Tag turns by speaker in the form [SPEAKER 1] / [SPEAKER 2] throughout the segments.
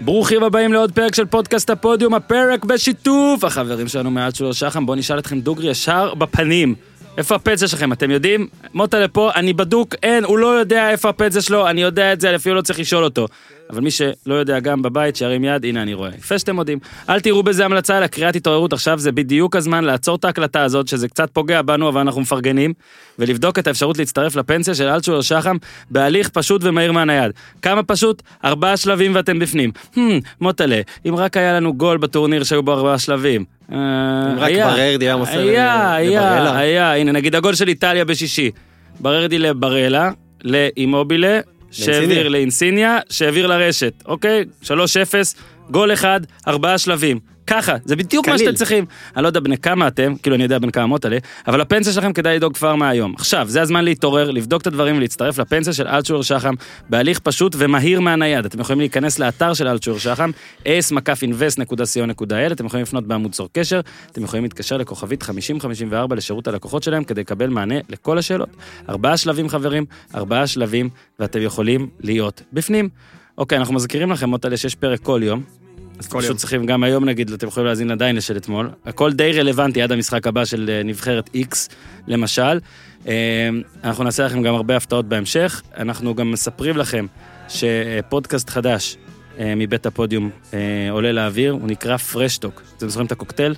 [SPEAKER 1] ברוכים הבאים לעוד פרק של פודקאסט הפודיום, הפרק בשיתוף החברים שלנו מעט שלו שחם, בואו נשאל אתכם דוגרי ישר בפנים. איפה הפצע שלכם, אתם יודעים? מוטה לפה, אני בדוק, אין, הוא לא יודע איפה הפצע שלו, אני יודע את זה, אפילו לא צריך לשאול אותו. אבל מי שלא יודע גם בבית, שירים יד, הנה אני רואה. יפה שאתם יודעים. אל תראו בזה המלצה, אלא קריאת התעוררות עכשיו, זה בדיוק הזמן לעצור את ההקלטה הזאת, שזה קצת פוגע בנו, אבל אנחנו מפרגנים, ולבדוק את האפשרות להצטרף לפנסיה של אלצ'ולר שחם בהליך פשוט ומהיר מהנייד. כמה פשוט? ארבעה שלבים ואתם בפנים. Hmm, מוטלה, אם רק היה לנו גול בטורניר שהיו בו ארבעה שלבים. אם
[SPEAKER 2] רק בררדי היה מוסר
[SPEAKER 1] היה,
[SPEAKER 2] ל-
[SPEAKER 1] היה,
[SPEAKER 2] לברלה.
[SPEAKER 1] היה, הנה, נגיד הגול של איטליה בשישי. בררדי לברלה, לאימובילה, שהעביר לאינסיניה, שהעביר לרשת, אוקיי? 3-0, גול אחד, ארבעה שלבים. ככה, זה בדיוק מה
[SPEAKER 2] קליל.
[SPEAKER 1] שאתם צריכים. אני לא יודע בני כמה אתם, כאילו אני יודע בן כמה מוטלה, אבל הפנסיה שלכם כדאי לדאוג כבר מהיום. עכשיו, זה הזמן להתעורר, לבדוק את הדברים ולהצטרף לפנסיה של אלצ'ולר שחם בהליך פשוט ומהיר מהנייד. אתם יכולים להיכנס לאתר של אלצ'ולר שחם, s.invest.co.il, אתם יכולים לפנות בעמוד צור קשר, אתם יכולים להתקשר לכוכבית 5054 לשירות הלקוחות שלהם כדי לקבל מענה לכל השאלות. ארבעה שלבים חברים, ארבעה שלבים, ואתם יכולים להיות בפנים. אוקיי, אנחנו מזכירים לכם, מוטלה, שיש פרק כל יום. אז
[SPEAKER 3] כל
[SPEAKER 1] פשוט
[SPEAKER 3] יום.
[SPEAKER 1] צריכים גם היום נגיד, אתם יכולים להאזין עדיין לשל אתמול. הכל די רלוונטי עד המשחק הבא של אה, נבחרת איקס, למשל. אה, אנחנו נעשה לכם גם הרבה הפתעות בהמשך. אנחנו גם מספרים לכם שפודקאסט חדש אה, מבית הפודיום אה, עולה לאוויר, הוא נקרא פרשטוק. אתם זוכרים את הקוקטייל?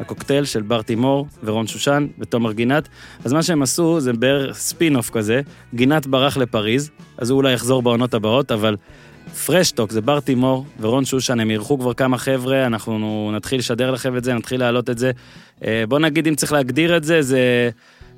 [SPEAKER 1] הקוקטייל של בר תימור ורון שושן ותומר גינת. אז מה שהם עשו זה בערך ספין-אוף כזה, גינת ברח לפריז, אז הוא אולי יחזור בעונות הבאות, אבל פרשטוק זה בר תימור ורון שושן, הם אירחו כבר כמה חבר'ה, אנחנו נתחיל לשדר לכם את זה, נתחיל להעלות את זה. אה, בוא נגיד, אם צריך להגדיר את זה, זה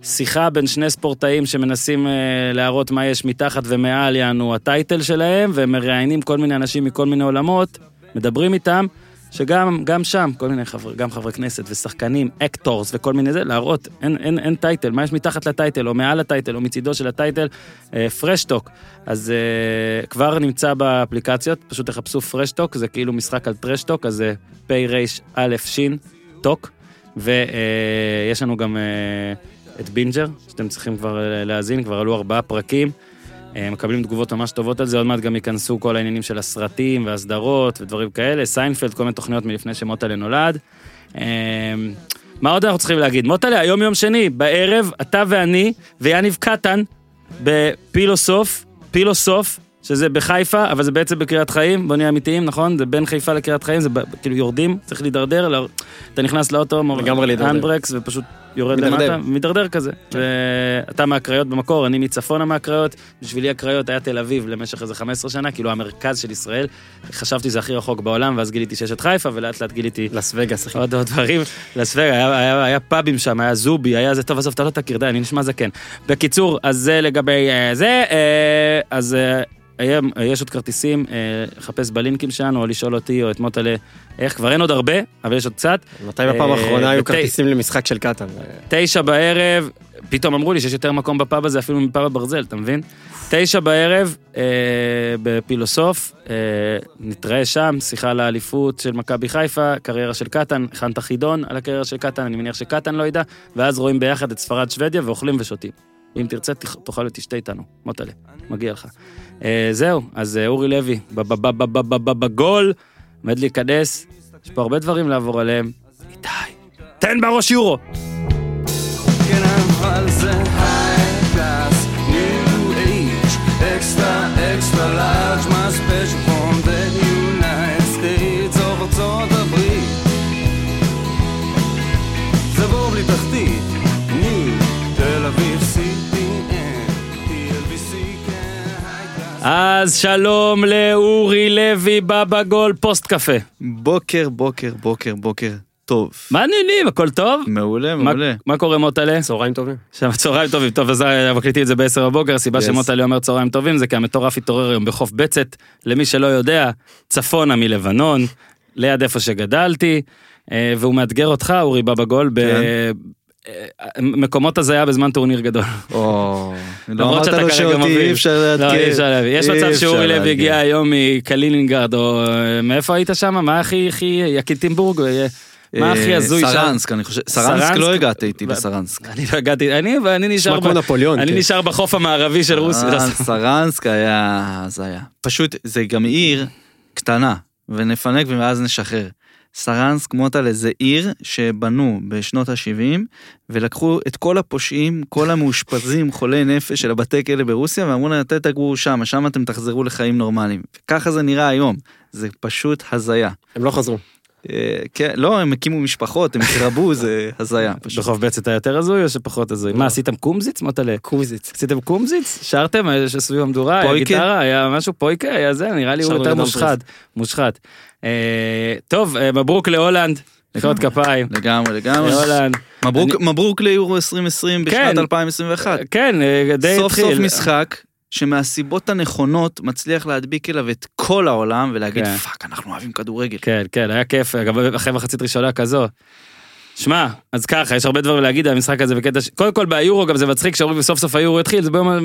[SPEAKER 1] שיחה בין שני ספורטאים שמנסים אה, להראות מה יש מתחת ומעל, יענו הטייטל שלהם, והם מראיינים כל מיני אנשים מכל מיני עולמות, מדברים איתם. שגם גם שם, כל מיני חברי, גם חברי כנסת ושחקנים, אקטורס וכל מיני זה, להראות, אין, אין, אין טייטל, מה יש מתחת לטייטל, או מעל הטייטל, או מצידו של הטייטל, אה, פרשטוק. אז אה, כבר נמצא באפליקציות, פשוט תחפשו פרשטוק, זה כאילו משחק על טרשטוק, אז זה פי רייש א' ש' טוק, ויש לנו גם אה, את בינג'ר, שאתם צריכים כבר אה, להאזין, כבר עלו ארבעה פרקים. אה, מקבלים תגובות ממש טובות על זה, עוד מעט גם ייכנסו כל העניינים של הסרטים והסדרות ודברים כאלה, סיינפלד, כל מיני תוכניות מלפני שמוטלה נולד. אה, מה עוד אנחנו צריכים להגיד? מוטלה, היום יום שני, בערב, אתה ואני ויניב קטן בפילוסוף, פילוסוף, שזה בחיפה, אבל זה בעצם בקריית חיים, בוא נהיה אמיתיים, נכון? זה בין חיפה לקריית חיים, זה ב- כאילו יורדים, צריך להידרדר, ל- אתה נכנס לאוטו, מור-
[SPEAKER 2] לגמרי להידרדר.
[SPEAKER 1] הנדברקס, ופשוט יורד
[SPEAKER 2] מידרדר.
[SPEAKER 1] למטה, מידרדר כזה. ואתה מהקריות במקור, אני מצפונה מהקריות, בשבילי הקריות היה תל אביב למשך איזה 15 שנה, כאילו המרכז של ישראל, חשבתי שזה הכי רחוק בעולם, ואז גיליתי שיש את חיפה, ולאט לאט גיליתי
[SPEAKER 2] לס וגאס, אחי.
[SPEAKER 1] עוד עוד דברים. לס וגאס, היה, היה, היה פאבים שם, היה זובי, היה זה, טוב, עזוב, אתה לא תכיר, די, אני נשמע זקן. בקיצור, אז זה לגבי אה, זה, אה, אז אה, היום, אה, יש עוד כרטיסים, אה, לחפש בלינקים שלנו, או לשאול אותי או את מוטלה, איך, כבר אין עוד הרבה, אבל יש עוד קצת.
[SPEAKER 2] מתי בפעם
[SPEAKER 1] אה,
[SPEAKER 2] האחרונה היו
[SPEAKER 1] בתי-
[SPEAKER 2] כרטיסים למשחק של קטן? אה,
[SPEAKER 1] תשע בערב, פתאום אמרו לי שיש יותר מקום בפאב הזה אפילו מפאב הברזל, אתה מבין? תשע בערב, אה, בפילוסוף, אה, נתראה שם, שיחה על האליפות של מכבי חיפה, קריירה של קטן, הכנת חידון על הקריירה של קטן, אני מניח שקטן לא ידע, ואז רואים ביחד את ספרד שוודיה ואוכלים ושותים. אם תרצה, תח- תאכל ותשתה איתנו, מוטלה, מגיע לך. אה, זהו, אז אה, אורי לוי, ב- ב- ב- ב- ב- ב- בגול, עומד להיכנס, יש פה הרבה דברים לעבור עליהם. איתי, תן בראש יורו!
[SPEAKER 4] כן אבל זה high class, new age, extra extra large, my special from the United States of ארצות הברית. זה בור בלי תחתית, new, תל אביב CTN, TLBC, כן, high class.
[SPEAKER 1] אז שלום לאורי לוי, בבא גול, פוסט קפה.
[SPEAKER 3] בוקר, בוקר, בוקר, בוקר טוב.
[SPEAKER 1] מה העניינים? הכל טוב?
[SPEAKER 3] מעולה,
[SPEAKER 1] מה-
[SPEAKER 3] מעולה.
[SPEAKER 1] מה קורה מוטלה?
[SPEAKER 2] צהריים טובים.
[SPEAKER 1] שם צהריים טובים, טוב, אז אה, מקליטים את זה ב-10 בבוקר, הסיבה
[SPEAKER 2] Yes.
[SPEAKER 1] שמוטלה אומר צהריים טובים זה כי המטורף התעורר היום בחוף בצת, למי שלא יודע, צפונה מלבנון, ליד איפה שגדלתי, אה, והוא מאתגר אותך, אורי בבא גול, במקומות הזיה בזמן טורניר גדול.
[SPEAKER 3] או... לא
[SPEAKER 1] למרות
[SPEAKER 3] אמרת
[SPEAKER 1] שאתה
[SPEAKER 3] לו
[SPEAKER 1] כרגע
[SPEAKER 3] שאותי
[SPEAKER 1] מוביל.
[SPEAKER 3] אי אפשר
[SPEAKER 1] לא,
[SPEAKER 3] לאתגר.
[SPEAKER 1] אי אפשר להבין. יש
[SPEAKER 3] אי
[SPEAKER 1] מצב
[SPEAKER 3] אפשר
[SPEAKER 1] שאורי לוי
[SPEAKER 3] לאתגר.
[SPEAKER 1] הגיע היום מקלינינגרד, או אה, מאיפה היית שם? מה הכי, הכי, יקיטינבורג? אה, מה הכי
[SPEAKER 3] אה,
[SPEAKER 1] הזוי שם?
[SPEAKER 3] סרנסק, אני חושב. סרנסק לא הגעת איתי
[SPEAKER 1] ב-
[SPEAKER 3] לסרנסק.
[SPEAKER 1] אני לא הגעתי, אני ואני נשאר
[SPEAKER 2] נשמע כמו
[SPEAKER 1] ב-
[SPEAKER 2] נפוליאון.
[SPEAKER 1] אני
[SPEAKER 2] כן.
[SPEAKER 1] נשאר בחוף המערבי
[SPEAKER 3] אה,
[SPEAKER 1] של רוסיה.
[SPEAKER 3] סרנסק היה הזיה. פשוט, זה גם עיר קטנה. ונפנק ואז נשחרר. סרנסק מוטלה זה עיר שבנו בשנות ה-70 ולקחו את כל הפושעים, כל המאושפזים, חולי נפש של הבתי כלא ברוסיה ואמרו להם, אתם תגורו שם, שם אתם תחזרו לחיים נורמליים. ככה זה נראה היום, זה פשוט הזיה.
[SPEAKER 2] הם לא חזרו.
[SPEAKER 3] אה, כן, לא, הם הקימו משפחות, הם התרבו, זה הזיה פשוט.
[SPEAKER 1] בחוף בצת היה יותר הזוי או שפחות הזוי? מה, עשיתם קומזיץ, מוטלה?
[SPEAKER 2] לא. קומזיץ.
[SPEAKER 1] עשיתם קומזיץ? שרתם? היה סביב המדורה, היה
[SPEAKER 3] פויקה?
[SPEAKER 1] גיטרה, היה משהו פויקה, היה זה, נראה לי הוא
[SPEAKER 2] שרנו
[SPEAKER 1] יותר
[SPEAKER 2] לדמפרס.
[SPEAKER 1] מושחת. מושחת. אה, טוב, אה, מברוק להולנד, מחיאות כפיים.
[SPEAKER 3] לגמרי, לגמרי.
[SPEAKER 1] להולנד.
[SPEAKER 3] מברוק, מברוק ליורו 2020 בשנת
[SPEAKER 1] כן.
[SPEAKER 3] 2021.
[SPEAKER 1] כן, אה, די התחיל.
[SPEAKER 3] סוף סוף משחק שמהסיבות הנכונות מצליח להדביק אליו את כל העולם ולהגיד
[SPEAKER 1] כן.
[SPEAKER 3] פאק אנחנו אוהבים כדורגל.
[SPEAKER 1] כן, כן, היה כיף, אגב, אחרי מחצית ראשונה כזו. שמע, אז ככה, יש הרבה דברים להגיד על המשחק הזה בקטע ש... קודם כל ביורו גם זה מצחיק שאומרים סוף סוף היורו התחיל, זה ביום... ה-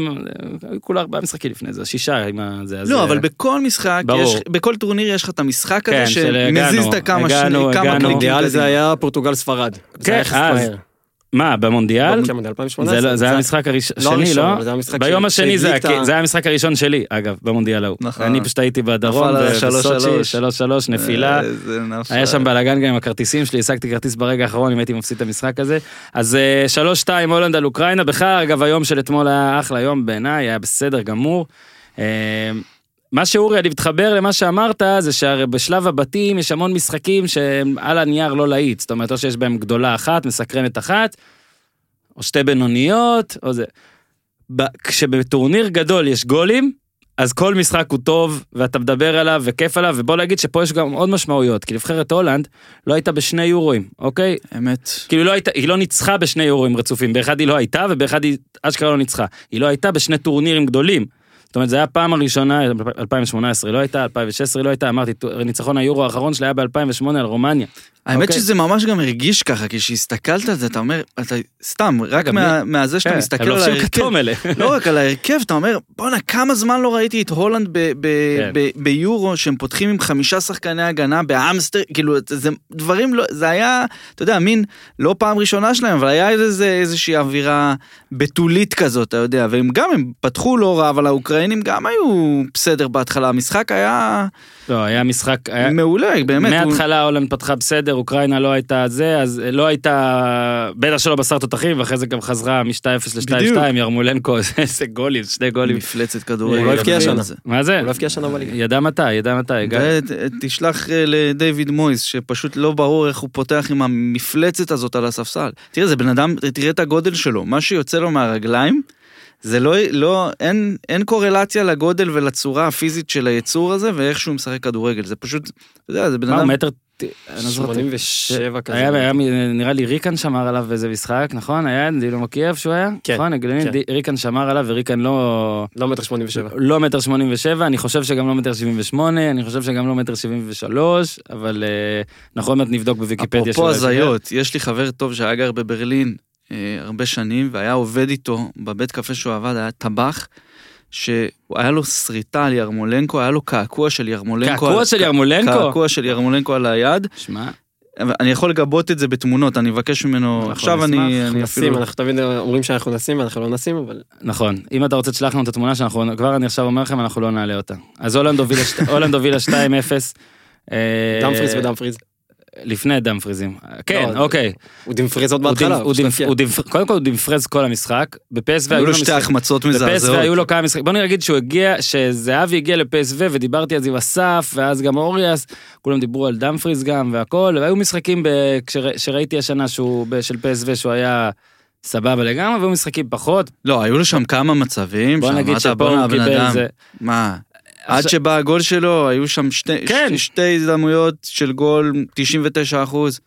[SPEAKER 1] היו כולה ארבעה משחקים לפני זה, שישה עם ה... זה, אז- אה,
[SPEAKER 3] לא, אבל בכל משחק,
[SPEAKER 1] ברור.
[SPEAKER 3] יש, בכל טורניר יש לך את המשחק
[SPEAKER 1] כן,
[SPEAKER 3] הזה
[SPEAKER 1] של הגענו,
[SPEAKER 3] שמזיז את הכמה
[SPEAKER 1] הגענו,
[SPEAKER 3] שני- כמה
[SPEAKER 1] הגענו.
[SPEAKER 3] קליקים
[SPEAKER 2] אידיאל זה
[SPEAKER 3] קדימה.
[SPEAKER 2] היה פורטוגל ספרד. זה היה יחס
[SPEAKER 1] כן, אז,
[SPEAKER 2] מהר.
[SPEAKER 1] מה, במונדיאל?
[SPEAKER 2] במונדיאל
[SPEAKER 1] זה,
[SPEAKER 2] 2018.
[SPEAKER 1] לא- זה היה המשחק הראשון,
[SPEAKER 2] לא
[SPEAKER 1] שני,
[SPEAKER 2] הראשון,
[SPEAKER 1] לא?
[SPEAKER 2] אבל זה היה המשחק
[SPEAKER 1] ביום
[SPEAKER 2] ש-
[SPEAKER 1] השני זה,
[SPEAKER 2] שהדליק
[SPEAKER 1] היה-
[SPEAKER 2] את ה-
[SPEAKER 1] זה היה המשחק הראשון שלי, אגב, במונדיאל ההוא.
[SPEAKER 3] נכון.
[SPEAKER 1] אני פשוט הייתי בדרום,
[SPEAKER 3] נפל על
[SPEAKER 1] ב-
[SPEAKER 3] השלוש
[SPEAKER 1] בסוצ'י,
[SPEAKER 3] שלוש.
[SPEAKER 1] 3-3, נפילה.
[SPEAKER 3] אה, זה נפל.
[SPEAKER 1] היה שם בלאגן גם עם הכרטיסים שלי, השגתי כרטיס ברגע האחרון אם הייתי מפסיד את המשחק הזה. אז אה, 3-2 הולנד על אוקראינה, בכלל אגב היום של אתמול היה אחלה יום בעיניי, היה בסדר גמור. אה, מה שאורי, אני מתחבר למה שאמרת, זה שהרי בשלב הבתים יש המון משחקים שהם על הנייר לא להיט, זאת אומרת או שיש בהם גדולה אחת, מסקרנת אחת, או שתי בינוניות, או זה. ב- כשבטורניר גדול יש גולים, אז כל משחק הוא טוב, ואתה מדבר עליו, וכיף עליו, ובוא נגיד שפה יש גם עוד משמעויות, כי נבחרת הולנד לא הייתה בשני יורואים, אוקיי?
[SPEAKER 3] אמת.
[SPEAKER 1] כאילו לא הייתה, היא לא ניצחה בשני יורואים רצופים, באחד היא לא הייתה, ובאחד היא אשכרה לא ניצחה. היא לא הייתה בשני טורנירים גדולים. זאת אומרת, זו הייתה הפעם הראשונה, 2018 לא הייתה, 2016 לא הייתה, אמרתי, טור- ניצחון היורו האחרון שלה היה ב-2008 על רומניה.
[SPEAKER 3] האמת
[SPEAKER 1] אוקיי.
[SPEAKER 3] שזה ממש גם הרגיש ככה, כשהסתכלת על זה, אתה אומר, אתה סתם, רק
[SPEAKER 1] גם כן,
[SPEAKER 3] מה- מהזה שאתה מסתכל
[SPEAKER 1] הם
[SPEAKER 3] על
[SPEAKER 1] לובשים
[SPEAKER 3] ההרכב,
[SPEAKER 1] כתום אלה.
[SPEAKER 3] לא רק על ההרכב, אתה אומר, בואנה, כמה זמן לא ראיתי את הולנד ב- ב-
[SPEAKER 1] כן.
[SPEAKER 3] ב- ביורו, שהם פותחים עם חמישה שחקני הגנה באמסטר, כאילו, זה- זה דברים לא, זה היה, אתה יודע, מין, לא פעם ראשונה שלהם, אבל היה איזה איזושהי אווירה בתולית כזאת, אתה יודע, והם גם, הם פתחו לא רע, אבל האוקראינים גם היו בסדר בהתחלה, המשחק היה
[SPEAKER 1] לא, היה משחק, היה-
[SPEAKER 3] מעולה, באמת. הוא-
[SPEAKER 1] מההתחלה הולנד פתחה בסדר, אוקראינה לא הייתה זה, אז לא הייתה בטח שלא בשר תותחים, ואחרי זה גם חזרה מ-2-0 ל-2-2,
[SPEAKER 3] בדיוק.
[SPEAKER 1] ירמולנקו, זה- זה גולים, שני גולים.
[SPEAKER 3] מפלצת כדורגל.
[SPEAKER 1] הוא לא
[SPEAKER 2] הבקיע
[SPEAKER 3] אבל
[SPEAKER 2] השנה.
[SPEAKER 3] זה-
[SPEAKER 1] מה זה?
[SPEAKER 2] הוא לא הבקיע שנה בליגה.
[SPEAKER 1] ידע מתי, ידע מתי, גיא.
[SPEAKER 3] ת- תשלח אה, לדיוויד מויס, שפשוט לא ברור איך הוא פותח עם המפלצת הזאת על הספסל. תראה, זה בן אדם, תראה את הגודל שלו, מה שיוצא לו מהרגליים, זה לא, לא, אין, אין קורלציה לגודל ולצורה הפיזית של היצור הזה, ואיך שהוא משחק כדורגל, זה פשוט, אתה יודע, זה בן
[SPEAKER 1] מה הוא
[SPEAKER 3] אדם...
[SPEAKER 1] מטר... אני לא זוכר.
[SPEAKER 2] 87 כזה.
[SPEAKER 1] כן. היה, היה, מ- נראה לי ריקן שמר עליו באיזה משחק, נכון? היה דילומוקייב שהוא היה?
[SPEAKER 2] כן,
[SPEAKER 1] נכון, הגלוני,
[SPEAKER 2] כן.
[SPEAKER 1] די- ריקן שמר עליו וריקן לא...
[SPEAKER 2] לא מטר 87.
[SPEAKER 1] לא מטר שמונים ושבע, אני חושב שגם לא מטר שבעים ושמונה, אני חושב שגם לא מטר שבעים ושלוש, אבל אה, אנחנו עוד מעט נבדוק בוויקיפדיה
[SPEAKER 3] אפרופו
[SPEAKER 1] שלו.
[SPEAKER 3] הזיות, יש לי חבר טוב שהיה גר בברלין אה, הרבה שנים, והיה עובד איתו בבית קפה שהוא עבד, היה טבח. שהיה לו שריטה על ירמולנקו, היה לו קעקוע של ירמולנקו.
[SPEAKER 1] קעקוע
[SPEAKER 3] על-
[SPEAKER 1] של ירמולנקו?
[SPEAKER 3] קעקוע של ירמולנקו על היד.
[SPEAKER 1] שמע,
[SPEAKER 3] אבל אני יכול לגבות את זה בתמונות, אני אבקש ממנו,
[SPEAKER 1] אנחנו
[SPEAKER 3] עכשיו
[SPEAKER 1] נשמח,
[SPEAKER 3] אני
[SPEAKER 2] אנחנו
[SPEAKER 3] אני
[SPEAKER 2] נשים,
[SPEAKER 3] אפילו...
[SPEAKER 2] אנחנו תמיד אומרים שאנחנו נשים, אנחנו לא נשים, אבל
[SPEAKER 1] נכון, אם אתה רוצה תשלח לנו את התמונה שאנחנו, כבר אני עכשיו אומר לכם, אנחנו לא נעלה אותה. אז הולנד הובילה שת- הולנד הובילה 2-0. אה,
[SPEAKER 2] דמפריז ודמפריז.
[SPEAKER 1] לפני דמפריזים. כן,
[SPEAKER 2] לא,
[SPEAKER 1] אוקיי.
[SPEAKER 2] הוא דמפריז עוד
[SPEAKER 1] הוא
[SPEAKER 2] בהתחלה.
[SPEAKER 1] דימ- הוא
[SPEAKER 2] פשוט
[SPEAKER 1] דימ-
[SPEAKER 2] הפקיע.
[SPEAKER 1] הוא דימ- קודם כל הוא דמפרז כל המשחק. בפסו
[SPEAKER 3] כן. היו לו שתי החמצות
[SPEAKER 1] בפסו
[SPEAKER 3] מזעזעות.
[SPEAKER 1] היו לו כמה משחקים, בוא נגיד שהוא הגיע, שזהבי הגיע לפסו ודיברתי על זה עם אסף, ואז גם אוריאס, כולם דיברו על דמפריז גם והכל, והיו משחקים ב- כשרא- שראיתי השנה שהוא, ב- של פסו שהוא היה סבבה לגמרי, והיו משחקים פחות,
[SPEAKER 3] לא, היו לו שם כמה מצבים,
[SPEAKER 1] בוא נגיד
[SPEAKER 3] שאמרת,
[SPEAKER 1] שפה
[SPEAKER 3] בואנה
[SPEAKER 1] הוא
[SPEAKER 3] הבן
[SPEAKER 1] קיבל
[SPEAKER 3] אדם,
[SPEAKER 1] זה.
[SPEAKER 3] מה? עד
[SPEAKER 1] עכשיו-
[SPEAKER 3] שבא הגול שלו, היו שם שתי-
[SPEAKER 1] כן.
[SPEAKER 3] ש- שתי הזדמנויות של גול, 99 אחוז.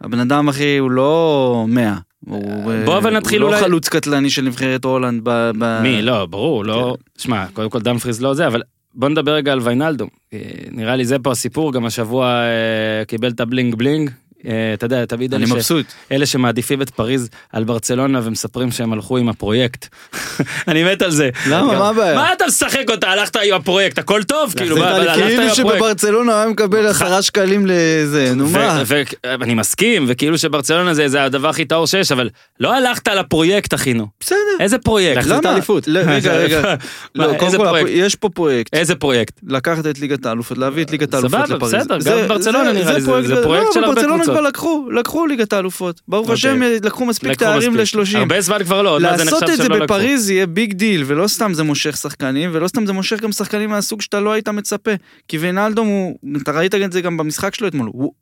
[SPEAKER 3] הבן אדם, אחי, הוא לא 100. הוא אה,
[SPEAKER 1] בוא אבל נתחיל
[SPEAKER 3] הוא
[SPEAKER 1] אולי-
[SPEAKER 3] לא חלוץ קטלני של נבחרת הולנד ב... ב-
[SPEAKER 1] מי? לא, ברור, לא...
[SPEAKER 3] כן.
[SPEAKER 1] שמע, קודם כל דמפריז לא זה, אבל בוא נדבר רגע על ויינלדום. אה, נראה לי זה פה הסיפור, גם השבוע אה, קיבל את הבלינג בלינג. אה, אתה יודע, תמיד
[SPEAKER 3] אני
[SPEAKER 1] אלה ש-
[SPEAKER 3] מבסוט.
[SPEAKER 1] אלה שמעדיפים את פריז על ברצלונה ומספרים שהם הלכו עם הפרויקט. אני מת על זה.
[SPEAKER 3] למה?
[SPEAKER 1] גם-
[SPEAKER 3] מה הבעיה?
[SPEAKER 1] מה אתה משחק אותה? הלכת עם הפרויקט, הכל טוב, כאילו,
[SPEAKER 2] זה
[SPEAKER 1] מה, אבל הלכת עם
[SPEAKER 3] כאילו
[SPEAKER 1] הפרויקט.
[SPEAKER 3] שבברצלונה הוא היה מקבל עשרה שקלים לזה, נו מה?
[SPEAKER 1] ואני מסכים, וכאילו שברצלונה זה זה הדבר הכי טהור שיש, אבל לא הלכת על הפרויקט, אחינו.
[SPEAKER 3] בסדר.
[SPEAKER 1] איזה פרויקט?
[SPEAKER 2] להחזיר את
[SPEAKER 3] למה?
[SPEAKER 2] האליפות.
[SPEAKER 3] לא, רגע, רגע.
[SPEAKER 1] מה,
[SPEAKER 3] לא, קודם
[SPEAKER 1] איזה
[SPEAKER 3] כל,
[SPEAKER 1] פרויקט?
[SPEAKER 3] יש פה פרויקט.
[SPEAKER 1] איזה פרויקט?
[SPEAKER 3] לקחת את ליגת האלופות, להביא את ליגת האלופות
[SPEAKER 1] סבבה,
[SPEAKER 3] לפריז.
[SPEAKER 1] בסדר,
[SPEAKER 3] זה-
[SPEAKER 1] גם ברצלונה נראה לי, זה- זה
[SPEAKER 3] גדול.
[SPEAKER 1] פרויקט
[SPEAKER 3] לא,
[SPEAKER 1] של הרבה
[SPEAKER 3] ברצלונה
[SPEAKER 1] קבוצות.
[SPEAKER 3] כבר לקחו, לקחו ליגת האלופות. ברוך
[SPEAKER 1] אוקיי.
[SPEAKER 3] השם, לקחו מספיק
[SPEAKER 1] לקחו
[SPEAKER 3] תארים
[SPEAKER 1] מספיק.
[SPEAKER 3] לשלושים.
[SPEAKER 1] הרבה זמן כבר לא, עוד מעט זה
[SPEAKER 3] לעשות
[SPEAKER 1] נחשב
[SPEAKER 3] את זה
[SPEAKER 1] שהם לא לקחו.
[SPEAKER 3] בפריז יהיה ביג דיל, ולא סתם זה מושך שחקנים, ולא סתם זה מושך גם שחקנים מהסוג שאתה לא היית מצפה. כי וינאלדום הוא, אתה ראית את זה גם במשחק שלו אתמול, הוא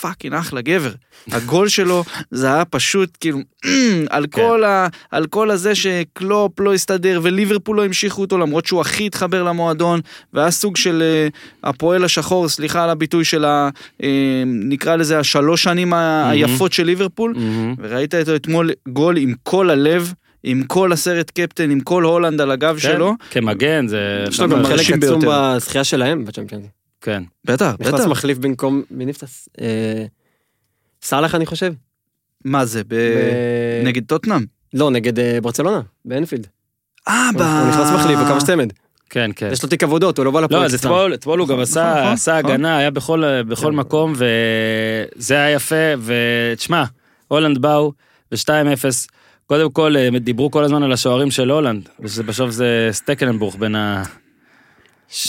[SPEAKER 3] פאקינג אחלה גבר. הגול שלו זה היה פשוט כאילו, על
[SPEAKER 1] כן.
[SPEAKER 3] כל ה... על כל הזה שקלופ לא הסתדר וליברפול לא המשיכו אותו למרות שהוא הכי התחבר למועדון, והיה סוג של אה, הפועל השחור, סליחה על הביטוי של ה... אה, נקרא לזה השלוש שנים ה-
[SPEAKER 1] Mhm.
[SPEAKER 3] היפות של ליברפול.
[SPEAKER 1] מהמם.
[SPEAKER 3] וראית אותו אתמול גול עם כל הלב, עם כל הסרט קפטן, עם כל הולנד על הגב
[SPEAKER 1] כן,
[SPEAKER 3] שלו.
[SPEAKER 1] כמגן זה...
[SPEAKER 3] יש לו גם
[SPEAKER 1] חלק-
[SPEAKER 3] מרשים
[SPEAKER 2] חלק עצום
[SPEAKER 3] ביותר.
[SPEAKER 2] בזכייה שלהם בצ'מפיונס.
[SPEAKER 1] כן.
[SPEAKER 3] בטח,
[SPEAKER 2] נכנס מחליף במקום, מי נפצע? אה, סאלח אני חושב.
[SPEAKER 3] מה זה, ב...
[SPEAKER 2] ב-
[SPEAKER 3] אה, נגד טוטנאם?
[SPEAKER 2] לא, נגד אה, ברצלונה, באנפילד.
[SPEAKER 3] אה, ב...
[SPEAKER 2] הוא הוא נכנס מחליף, הוא כבש צמד.
[SPEAKER 1] כן, כן.
[SPEAKER 2] יש לו תיק עבודות, הוא לא בא
[SPEAKER 1] לא,
[SPEAKER 2] לפרויקט
[SPEAKER 1] אז
[SPEAKER 2] סתם.
[SPEAKER 1] אתמול, אתמול הוא גם
[SPEAKER 3] נכון,
[SPEAKER 1] עשה,
[SPEAKER 3] נכון,
[SPEAKER 1] עשה
[SPEAKER 3] נכון.
[SPEAKER 1] הגנה, היה בכל, בכל
[SPEAKER 2] כן.
[SPEAKER 1] מקום, וזה היה יפה, ותשמע, הולנד באו ב-2-0. קודם כל, אה, דיברו כל הזמן על השוערים של הולנד, ובסוף זה סטקלנבורג בין ה...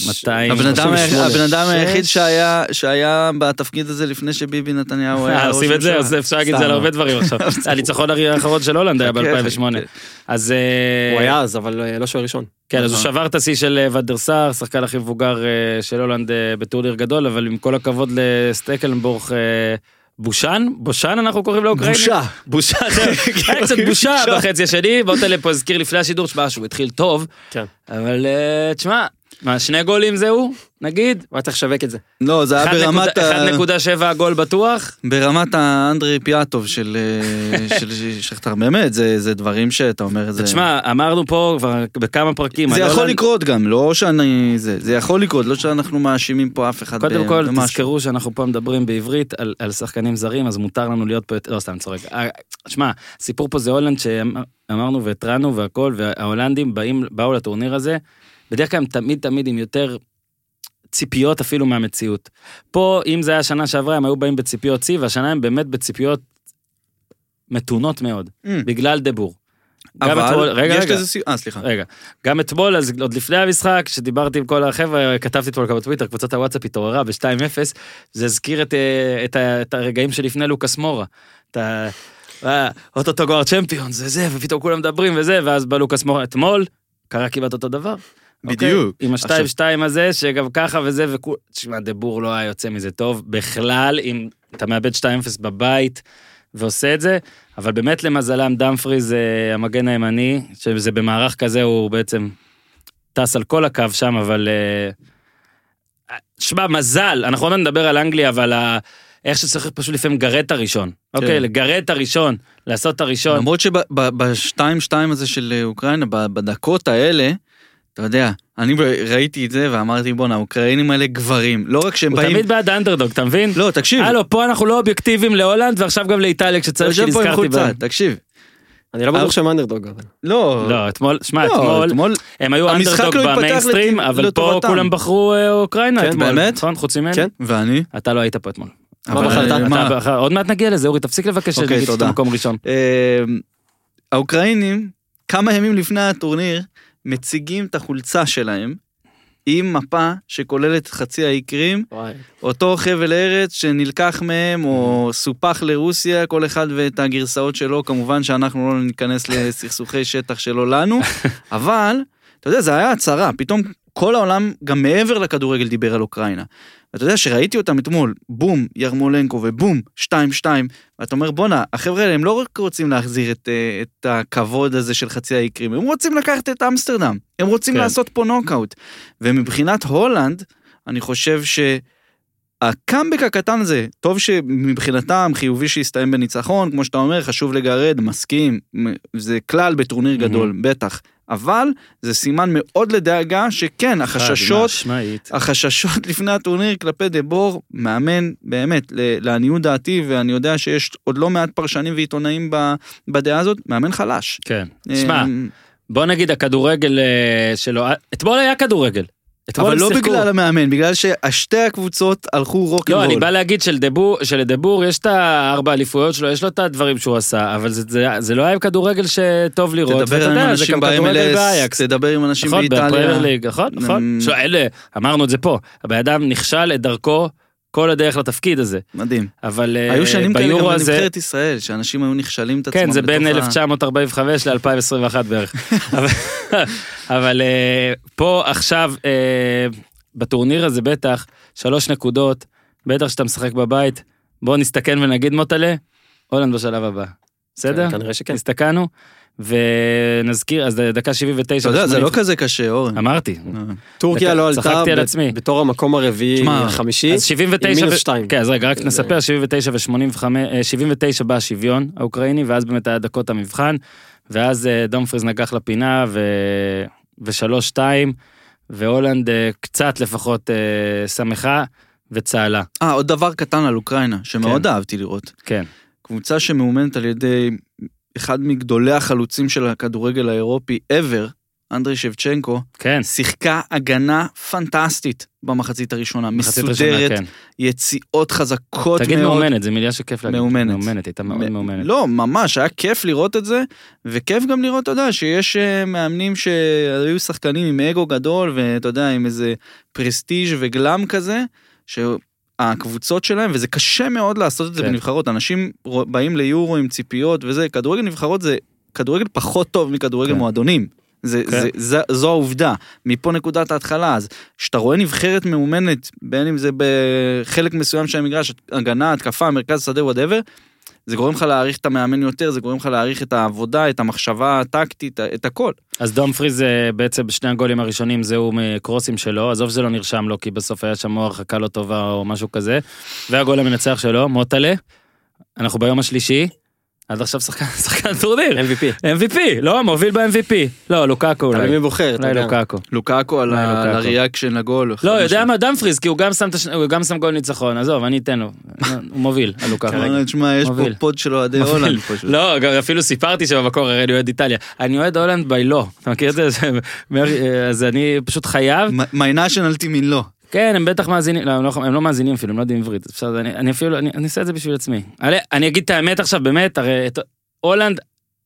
[SPEAKER 1] 200...
[SPEAKER 3] הבן אדם, ה-
[SPEAKER 2] 38.
[SPEAKER 3] הבן אדם היחיד שהיה, שהיה בתפקיד הזה לפני שביבי נתניהו היה
[SPEAKER 1] אה,
[SPEAKER 3] ראש
[SPEAKER 1] עושים את זה,
[SPEAKER 3] ממשלה.
[SPEAKER 1] אז אפשר להגיד את זה על
[SPEAKER 2] סתם.
[SPEAKER 1] הרבה דברים עכשיו. הניצחון האחרון של הולנד היה
[SPEAKER 3] חכה,
[SPEAKER 1] ב-2008.
[SPEAKER 3] חכה.
[SPEAKER 1] אז... אה,
[SPEAKER 2] הוא היה אז, אבל אה, לא שוער ראשון.
[SPEAKER 1] כן, אז הוא
[SPEAKER 3] נכון.
[SPEAKER 1] שבר את השיא של אה, ואדר סער, שחקן הכי מבוגר אה, של הולנד אה, בטורניר גדול, אבל עם כל הכבוד לסטקלנבורג, אה, בושן? בושן אנחנו קוראים לאוקראינים?
[SPEAKER 2] בושה.
[SPEAKER 1] בושה, כן. היה קצת בושה בחצי השני, בוא תן לפה, הזכיר לפני השידור, שמע, שהוא התחיל טוב,
[SPEAKER 2] כן.
[SPEAKER 1] אבל אה, תשמע, מה, שני גולים זהו? נגיד?
[SPEAKER 2] הוא היה צריך לשווק את זה.
[SPEAKER 3] לא, זה היה ברמת ה...
[SPEAKER 1] 1.7 הגול בטוח?
[SPEAKER 3] ברמת האנדרי פיאטוב של אה, של שכתר. באמת, זה זה דברים שאתה אומר את זה.
[SPEAKER 1] תשמע, אמרנו פה כבר בכמה פרקים.
[SPEAKER 3] כן.
[SPEAKER 1] לא
[SPEAKER 3] זה
[SPEAKER 1] על
[SPEAKER 3] יכול
[SPEAKER 1] הולנד-
[SPEAKER 3] לקרות גם, לא שאני... זה זה יכול לקרות, לא שאנחנו מאשימים פה אף אחד.
[SPEAKER 1] קודם
[SPEAKER 3] ב-
[SPEAKER 1] כל,
[SPEAKER 3] במשהו.
[SPEAKER 1] תזכרו שאנחנו פה מדברים בעברית על, על שחקנים זרים, אז מותר לנו להיות פה... יותר- לא, סתם, צוחק. אה, שמע, הסיפור פה זה הולנד שאמרנו והתרענו והכל, וההולנדים באים, באו לטורניר הזה, בדרך כלל הם תמיד תמיד עם יותר ציפיות אפילו מהמציאות. פה, אם זה היה שנה שעברה, הם היו באים בציפיות שיא, והשנה הם באמת בציפיות מתונות מאוד,
[SPEAKER 3] Mm.
[SPEAKER 1] בגלל דבור. גם אתמול-
[SPEAKER 3] אבל
[SPEAKER 1] רגע,
[SPEAKER 3] יש
[SPEAKER 1] רגע.
[SPEAKER 3] לזה סיום, אה סליחה.
[SPEAKER 1] רגע, גם אתמול, אז עוד לפני המשחק, כשדיברתי עם כל החבר'ה, כתבתי אתמול גם בטוויטר, קבוצת הוואטסאפ התעוררה ב-2-0, זה הזכיר את, אה, את, ה- את הרגעים שלפני לוקאס מורה. את ה... אה, אוטוטו גואר צ'מפיון, זה זה, ופתאום כולם מדברים וזה, ואז בא לוקאס מורה אתמול, קרה כמעט אותו דבר.
[SPEAKER 3] בדיוק.
[SPEAKER 1] אוקיי? עם השתיים שתיים הזה, שגם ככה וזה, וכו... תשמע, דבור לא היה יוצא מזה טוב בכלל, אם אתה מאבד 2-0 בבית ועושה את זה, אבל באמת למזלם דמפרי זה המגן הימני, שזה במערך כזה הוא בעצם טס על כל הקו שם, אבל... אה, שמע, מזל, אנחנו עוד מעט נדבר על אנגליה, אבל ה... איך שצריך פשוט לפעמים גרד את הראשון. אוקיי,
[SPEAKER 3] כן.
[SPEAKER 1] לגרד את הראשון, לעשות את הראשון.
[SPEAKER 3] למרות שבשתיים-שתיים הזה של אה, אוקראינה, ב- בדקות האלה, אתה יודע, אני ב- ראיתי את זה ואמרתי בואנה, האוקראינים האלה גברים, לא רק שהם
[SPEAKER 1] הוא
[SPEAKER 3] באים...
[SPEAKER 1] תמיד בעד האנדרדוג, אתה מבין?
[SPEAKER 3] לא, תקשיב,
[SPEAKER 1] הלו, פה אנחנו לא אובייקטיביים להולנד, ועכשיו גם לאיטליה
[SPEAKER 3] אתה
[SPEAKER 1] כשצריך
[SPEAKER 3] יושב פה עם
[SPEAKER 1] שנזכרתי
[SPEAKER 3] חולצה,
[SPEAKER 1] בהם.
[SPEAKER 3] תקשיב.
[SPEAKER 2] אני
[SPEAKER 1] אה,
[SPEAKER 2] לא בטוח שהם אנדרדוג, אבל.
[SPEAKER 3] לא,
[SPEAKER 1] לא, אתמול, שמע,
[SPEAKER 3] לא,
[SPEAKER 1] אתמול, הם היו
[SPEAKER 3] המשחק
[SPEAKER 1] אנדרדוג
[SPEAKER 3] לא התפתח
[SPEAKER 1] במיינסטרים,
[SPEAKER 3] לטי-
[SPEAKER 1] אבל פה
[SPEAKER 3] לטובתם.
[SPEAKER 1] כולם בחרו אה, אוקראינה
[SPEAKER 2] כן,
[SPEAKER 1] אתמול.
[SPEAKER 3] באמת?
[SPEAKER 1] נכון, חוץ ממני?
[SPEAKER 2] כן.
[SPEAKER 3] ואני?
[SPEAKER 1] אתה לא היית פה אתמול.
[SPEAKER 2] מה
[SPEAKER 1] אבל-
[SPEAKER 2] בחרת?
[SPEAKER 1] אתה
[SPEAKER 3] מה?
[SPEAKER 1] בחר- עוד מעט נגיע לזה, אורי, תפסיק לבקש
[SPEAKER 3] אוקיי,
[SPEAKER 1] שנגיד את
[SPEAKER 3] תודה.
[SPEAKER 1] המקום ראשון.
[SPEAKER 3] אה, האוקראינים, כמה ימים לפני הטורניר, מציגים את החולצה שלהם עם מפה שכוללת חצי האי קרים,
[SPEAKER 2] וואי.
[SPEAKER 1] אה,
[SPEAKER 3] אותו חבל ארץ שנלקח מהם או סופח לרוסיה, כל אחד ואת הגרסאות שלו, כמובן שאנחנו לא ניכנס לסכסוכי שטח שלא לנו, אבל, אתה יודע, זה היה הצהרה, פתאום כל העולם, גם מעבר לכדורגל, דיבר על אוקראינה. ואתה יודע שראיתי אותם אתמול, בום, ירמולנקו ובום, 2-2, ואתה אומר, בואנה, החבר'ה האלה הם לא רק רוצים להחזיר את, אה, את הכבוד הזה של חצי האי קרים, הם רוצים לקחת את אמסטרדם, הם רוצים
[SPEAKER 1] כן.
[SPEAKER 3] כן. לעשות פה נוקאוט. ומבחינת הולנד, אני חושב ש... הקאמבק הקטן הזה, טוב שמבחינתם חיובי שיסתיים בניצחון, כמו שאתה אומר, חשוב לגרד, מסכים, מ- זה כלל בטורניר
[SPEAKER 1] מהמם.
[SPEAKER 3] גדול, בטח. אבל זה סימן מאוד לדאגה
[SPEAKER 1] אה,
[SPEAKER 3] שכן,
[SPEAKER 1] חד
[SPEAKER 3] החששות
[SPEAKER 1] משמעית.
[SPEAKER 3] החששות לפני הטורניר כלפי דה בור, מאמן, באמת, ל- לעניות דעתי, ואני יודע שיש עוד לא מעט פרשנים ועיתונאים ב- בדעה הזאת, מאמן חלש.
[SPEAKER 1] כן. שמע,
[SPEAKER 3] אמ,
[SPEAKER 1] בוא נגיד הכדורגל אה, שלו, אתמול היה כדורגל. אתמול
[SPEAKER 3] אבל
[SPEAKER 1] הם
[SPEAKER 3] לא
[SPEAKER 1] שיחקו.
[SPEAKER 3] בגלל המאמן, בגלל ששתי הקבוצות הלכו
[SPEAKER 1] לא, אני
[SPEAKER 3] רוקנרול.
[SPEAKER 1] בא להגיד שלדבור, שלדבור יש את הארבע אליפויות שלו, יש לו את הדברים שהוא עשה, אבל זה, זה, זה לא היה כדורגל שטוב לראות.
[SPEAKER 3] תדבר
[SPEAKER 1] ואתה
[SPEAKER 3] עם
[SPEAKER 1] יודע, זה
[SPEAKER 3] אנשים
[SPEAKER 1] גם כדורגל
[SPEAKER 3] ב-MLS,
[SPEAKER 1] באייקס.
[SPEAKER 3] תדבר עם אנשים
[SPEAKER 1] נכון, בפרמייר
[SPEAKER 3] באיטליה.
[SPEAKER 1] ליג, נכון, נכון.
[SPEAKER 3] אמ,
[SPEAKER 1] שואל, אלה, אמרנו את זה פה, הבן אדם נכשל את דרכו כל הדרך לתפקיד הזה,
[SPEAKER 3] מדהים.
[SPEAKER 1] אבל אה,
[SPEAKER 3] היו שנים כאלה גם
[SPEAKER 1] ביורו הזה...
[SPEAKER 3] בנבחרת ישראל, שאנשים היו נכשלים את עצמם.
[SPEAKER 1] כן, זה בין
[SPEAKER 3] בתוך ה-
[SPEAKER 1] 1945 ל-2021 בערך. אבל- אבל אה, פה עכשיו, אה, בטורניר הזה בטח, שלוש נקודות, בטח שאתה משחק בבית, בוא נסתכן ונגיד מוטלה, הולנד בשלב הבא. בסדר?
[SPEAKER 2] כן, כנראה שכן.
[SPEAKER 1] הסתכלנו, ונזכיר, אז דקה 79.
[SPEAKER 3] אתה יודע, זה לא
[SPEAKER 1] ושמונים.
[SPEAKER 3] כזה קשה, אורן. אה.
[SPEAKER 1] אמרתי.
[SPEAKER 2] טורקיה לא עלתה
[SPEAKER 1] צחקתי על
[SPEAKER 2] ב-
[SPEAKER 1] עצמי.
[SPEAKER 2] בתור המקום הרביעי,
[SPEAKER 3] שמע,
[SPEAKER 2] חמישי,
[SPEAKER 1] אז 79...
[SPEAKER 2] עם מינוס
[SPEAKER 1] ו-
[SPEAKER 2] שתיים.
[SPEAKER 1] כן, אז רגע, רק נספר, 79 ו-85, 79 אה, בא השוויון האוקראיני, ואז באמת היה דקות המבחן, ואז אה, דומפריז נגח לפינה, ו- ושלוש שתיים, והולנד אה, קצת לפחות אה, שמחה וצהלה,
[SPEAKER 3] אה, עוד דבר קטן על אוקראינה, שמאוד
[SPEAKER 1] כן.
[SPEAKER 3] אהבתי לראות.
[SPEAKER 1] כן.
[SPEAKER 3] קבוצה שמאומנת על ידי אחד מגדולי החלוצים של הכדורגל האירופי ever, אנדרי שבצ'נקו,
[SPEAKER 1] כן,
[SPEAKER 3] שיחקה הגנה פנטסטית במחצית הראשונה,
[SPEAKER 1] מחצית ראשונה,
[SPEAKER 3] מסודרת,
[SPEAKER 1] כן.
[SPEAKER 3] יציאות חזקות
[SPEAKER 1] תגיד
[SPEAKER 3] מאוד.
[SPEAKER 1] מאומנת, זו מילה שכיף להגיד.
[SPEAKER 3] מאומנת.
[SPEAKER 1] מאומנת, הייתה מאוד
[SPEAKER 3] מ-
[SPEAKER 1] מאומנת.
[SPEAKER 3] לא, ממש, היה כיף לראות את זה, וכיף גם לראות, אתה יודע, שיש אה, מאמנים שהיו שחקנים עם אגו גדול, ואתה יודע, עם איזה פרסטיג' וגלם כזה, שהקבוצות שלהם, וזה קשה מאוד לעשות את זה
[SPEAKER 1] כן.
[SPEAKER 3] בנבחרות, אנשים רוא- באים ליורו עם ציפיות וזה, כדורגל נבחרות זה כדורגל פחות טוב מכדורגל
[SPEAKER 1] כן.
[SPEAKER 3] מועדונים. זה,
[SPEAKER 1] כן.
[SPEAKER 3] זה, זה, זו העובדה, מפה נקודת ההתחלה, אז כשאתה רואה נבחרת מאומנת, בין אם זה בחלק מסוים של המגרש, הגנה, התקפה, מרכז שדה, וואטאבר, זה גורם לך להעריך את המאמן יותר, זה גורם לך להעריך את העבודה, את המחשבה הטקטית, את הכל.
[SPEAKER 1] אז דומפריז אה, בעצם בשני הגולים הראשונים זהו מקרוסים שלו, עזוב שזה לא נרשם לו כי בסוף היה שם או הרחקה לא טובה או משהו כזה. והגול המנצח שלו, מוטלה, אנחנו ביום השלישי, עד עכשיו שחקן, שחקן טורניר,
[SPEAKER 2] MVP.
[SPEAKER 1] MVP, לא, מוביל ב-MVP, לא, לוקאקו
[SPEAKER 2] אבל
[SPEAKER 1] אולי,
[SPEAKER 2] מי בוחר, אתה
[SPEAKER 1] אולי לא
[SPEAKER 2] יודע.
[SPEAKER 1] לוקאקו.
[SPEAKER 3] לוקאקו על
[SPEAKER 1] אולי
[SPEAKER 3] ה- על
[SPEAKER 1] אה, לוקאקו.
[SPEAKER 3] הריאקשן לגול.
[SPEAKER 1] לא, יודע מה, דמפריז, כי הוא גם שם, את הש- הוא גם שם גול ניצחון, עזוב, אני אתן לו, הוא מוביל, הלוקאקו.
[SPEAKER 2] כן,
[SPEAKER 3] כרגע. כן, תשמע, יש פה
[SPEAKER 1] מוביל.
[SPEAKER 3] פוד של אוהדי
[SPEAKER 1] מוביל.
[SPEAKER 3] הולנד פשוט.
[SPEAKER 1] לא, גם אפילו סיפרתי שבמקור הרי אני אוהד איטליה. אני אוהד הולנד by law, אתה מכיר את זה? אז אני פשוט חייב
[SPEAKER 3] מי national team in לא.
[SPEAKER 1] כן, הם בטח מאזינים, לא, הם לא, הם לא מאזינים אפילו, הם לא יודעים עברית, אז בסדר, אני, אני אפילו, אני, אני אעשה את זה בשביל עצמי. אני, אני אגיד את האמת עכשיו, באמת, הרי את, הולנד,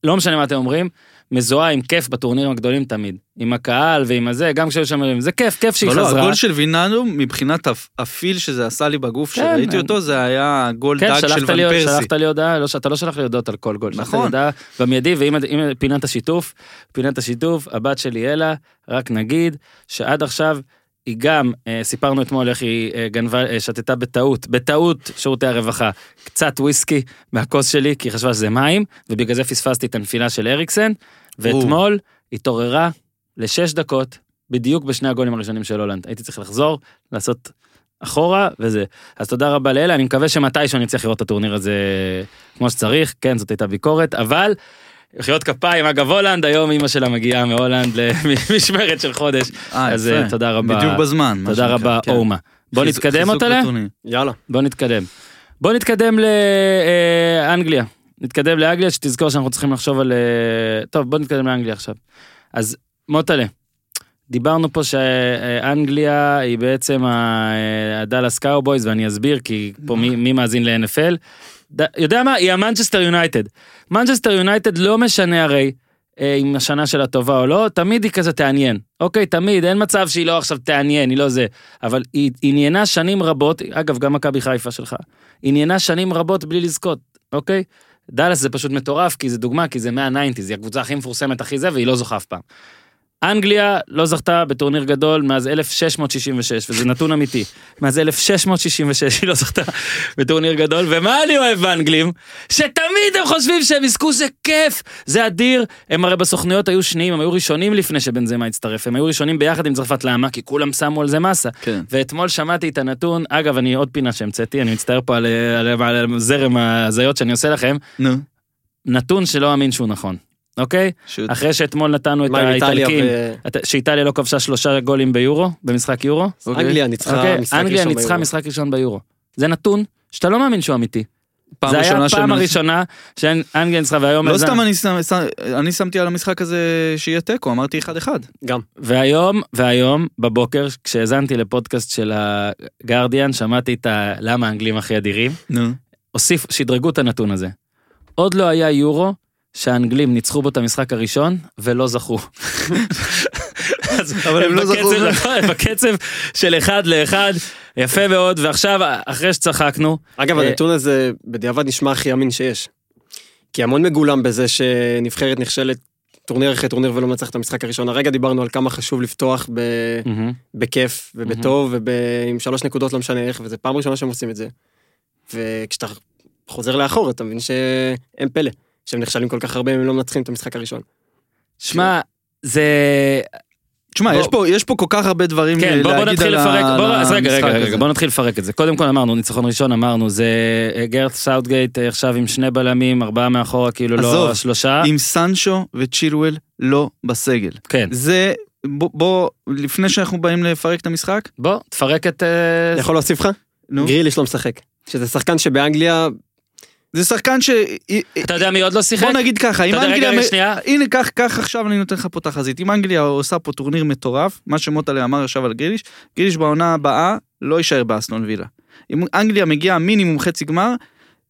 [SPEAKER 1] לא משנה מה אתם אומרים, מזוהה עם כיף בטורנירים הגדולים תמיד. עם הקהל ועם הזה, גם כשהיו שם אלוהים, זה כיף, כיף שהיא
[SPEAKER 3] אבל לא,
[SPEAKER 1] חזרה.
[SPEAKER 3] הגול של ויננו, מבחינת הפ- הפיל שזה עשה לי בגוף,
[SPEAKER 1] כן,
[SPEAKER 3] שראיתי
[SPEAKER 1] הם-
[SPEAKER 3] אותו, זה היה גול
[SPEAKER 1] כן,
[SPEAKER 3] דג של
[SPEAKER 1] שלחת
[SPEAKER 3] ון
[SPEAKER 1] לי,
[SPEAKER 3] פרסי.
[SPEAKER 1] שלחת לי הודעה, לא, ש- אתה לא שלח לי הודעות על כל גול, שלחת לי
[SPEAKER 3] נכון.
[SPEAKER 1] הודעה במיידי, ואם אם פינת השיתוף, פינת השיתוף, הבת שלי אלה, רק נגיד שעד עכשיו היא גם, אה, סיפרנו אתמול איך היא אה, גנבה, אה, שתתה בטעות, בטעות שירותי הרווחה, קצת וויסקי מהכוס שלי, כי היא חשבה שזה מים, ובגלל זה פספסתי את הנפילה של אריקסן, ואתמול התעוררה לשש דקות, בדיוק בשני הגולים הראשונים של הולנד. הייתי צריך לחזור, לעשות אחורה וזה. אז תודה רבה לאלה, אני מקווה שמתישהו אני אצליח לראות את הטורניר הזה כמו שצריך, כן, זאת הייתה ביקורת, אבל מחיאות כפיים, אגב הולנד, היום אימא שלה מגיעה מהולנד למשמרת של חודש,
[SPEAKER 3] אה,
[SPEAKER 1] אז
[SPEAKER 3] יפה.
[SPEAKER 1] אה, תודה רבה,
[SPEAKER 3] בדיוק בזמן. מה
[SPEAKER 1] תודה
[SPEAKER 3] שנקרא,
[SPEAKER 1] רבה
[SPEAKER 3] כן.
[SPEAKER 1] אומה. בוא
[SPEAKER 3] חיזוק-
[SPEAKER 1] נתקדם
[SPEAKER 3] חיזוק
[SPEAKER 1] אותה,
[SPEAKER 3] לטורניר.
[SPEAKER 2] יאללה.
[SPEAKER 1] בוא נתקדם. בוא נתקדם לאנגליה, נתקדם לאנגליה, שתזכור שאנחנו צריכים לחשוב על... אה, טוב, בוא נתקדם לאנגליה עכשיו. אז מוטלה, דיברנו פה שאנגליה היא בעצם ה- אה, הדאלאס קאובויז, ואני אסביר, כי פה מי, מי מאזין ל-NFL. ד- יודע מה? היא המנצ'סטר יונייטד. מנצ'סטר יונייטד לא משנה הרי אה, אם השנה שלה טובה או לא, תמיד היא כזה תעניין. אוקיי, תמיד, אין מצב שהיא לא עכשיו תעניין, היא לא זה. אבל היא עניינה שנים רבות, אגב, גם מכבי חיפה שלך, עניינה שנים רבות בלי לזכות, אוקיי? דאלאס זה פשוט מטורף, כי זה דוגמה, כי זה מהניינטיז, היא הקבוצה הכי מפורסמת, הכי זה, והיא לא זוכה אף פעם. אנגליה לא זכתה בטורניר גדול מאז 1666, וזה נתון אמיתי. מאז 1666 היא לא זכתה בטורניר גדול, ומה אני אוהב באנגלים? שתמיד הם חושבים שהם יזכו, זה כיף, זה אדיר. הם הרי בסוכנויות היו שניים, הם היו ראשונים לפני שבנזמה הצטרף, הם היו ראשונים ביחד עם צרפת, למה? כי כולם שמו על זה מסה.
[SPEAKER 3] כן.
[SPEAKER 1] ואתמול שמעתי את הנתון, אגב, אני עוד פינה שהמצאתי, אני מצטער פה על, על, על זרם ההזיות שאני עושה לכם,
[SPEAKER 3] נו.
[SPEAKER 1] נתון שלא אמין שהוא נכון. אוקיי?
[SPEAKER 3] שהוא-
[SPEAKER 1] אחרי שאתמול נתנו את
[SPEAKER 2] מה עם איטליה
[SPEAKER 1] האיטלקים,
[SPEAKER 2] ו-
[SPEAKER 1] את- שאיטליה לא כבשה שלושה גולים ביורו, במשחק יורו.
[SPEAKER 2] אנגליה ניצחה
[SPEAKER 1] אוקיי?
[SPEAKER 2] משחק
[SPEAKER 1] אנגליה
[SPEAKER 2] ראשון
[SPEAKER 1] ניצחה
[SPEAKER 2] ביורו.
[SPEAKER 1] משחק ראשון ביורו. זה נתון שאתה לא מאמין שהוא אמיתי.
[SPEAKER 3] פעם
[SPEAKER 1] זה היה
[SPEAKER 3] ראשונה שהם
[SPEAKER 1] הפעם
[SPEAKER 3] מנצחים.
[SPEAKER 1] הראשונה שאנגליה ניצחה והיום...
[SPEAKER 3] לא
[SPEAKER 1] הזן-
[SPEAKER 3] סתם אני שם- שם- אני שמתי על המשחק הזה שיהיה תיקו, אמרתי 1-1.
[SPEAKER 2] גם.
[SPEAKER 1] והיום, והיום, בבוקר, כשהאזנתי לפודקאסט של הגרדיאן, שמעתי את ה... למה האנגלים הכי אדירים.
[SPEAKER 3] נו.
[SPEAKER 1] הוסיף, שדרגו את הנתון הזה. עוד לא היה יורו שהאנגלים ניצחו בו את המשחק הראשון ולא זכו.
[SPEAKER 3] אבל הם לא זכו.
[SPEAKER 1] בקצב, הם בקצב של אחד לאחד, יפה מאוד, ועכשיו, אחרי שצחקנו,
[SPEAKER 2] אגב,
[SPEAKER 1] אה,
[SPEAKER 2] הנתון הזה בדיעבד נשמע הכי אמין שיש. כי המון מגולם בזה שנבחרת נכשלת טורניר אחרי טורניר ולא מנצחת את המשחק הראשון. הרגע דיברנו על כמה חשוב לפתוח ב... בכיף ובטוב ועם שלוש נקודות לא משנה איך, וזו פעם ראשונה שהם עושים את זה. וכשאתה חוזר לאחור אתה מבין שהם פלא, שהם נכשלים כל כך הרבה אם הם לא מנצחים את המשחק הראשון.
[SPEAKER 1] שמע, זה...
[SPEAKER 3] תשמע,
[SPEAKER 1] בוא-
[SPEAKER 3] יש פה- יש פה כל כך הרבה דברים
[SPEAKER 1] כן, בוא, בוא
[SPEAKER 3] להגיד
[SPEAKER 1] נתחיל
[SPEAKER 3] על ה-
[SPEAKER 1] לפרק,
[SPEAKER 3] על
[SPEAKER 1] בוא, אז רגע, רגע,
[SPEAKER 3] המשחק
[SPEAKER 1] רגע,
[SPEAKER 3] הזה.
[SPEAKER 1] בוא נתחיל לפרק את זה. קודם כל אמרנו, ניצחון ראשון אמרנו, זה אה, גרט סאוטגייט אה, עכשיו עם שני בלמים, ארבעה מאחורה, כאילו לא
[SPEAKER 3] עזוב,
[SPEAKER 1] שלושה.
[SPEAKER 3] עם סנצ'ו וצ'ילואל לא בסגל.
[SPEAKER 1] כן,
[SPEAKER 3] זה, בוא- בוא, לפני שאנחנו באים לפרק את המשחק,
[SPEAKER 1] בוא, תפרק את... אה,
[SPEAKER 2] אני יכול להוסיף לך?
[SPEAKER 3] נו. כן.
[SPEAKER 2] גריליש לא משחק. שזה שחקן שבאנגליה
[SPEAKER 3] זה שחקן ש...
[SPEAKER 1] אתה יודע מי עוד לא שיחק?
[SPEAKER 3] בוא נגיד ככה, אם
[SPEAKER 1] אתה יודע, רגע,
[SPEAKER 3] אנגליה...
[SPEAKER 1] רגע, שנייה.
[SPEAKER 3] הנה, קח, קח עכשיו אני נותן לך פה תחזית. אם אנגליה עושה פה טורניר מטורף, מה שמוטלה אמר עכשיו על גריליש, גריליש בעונה הבאה לא יישאר באסטון וילה. אם אנגליה מגיעה מינימום חצי גמר,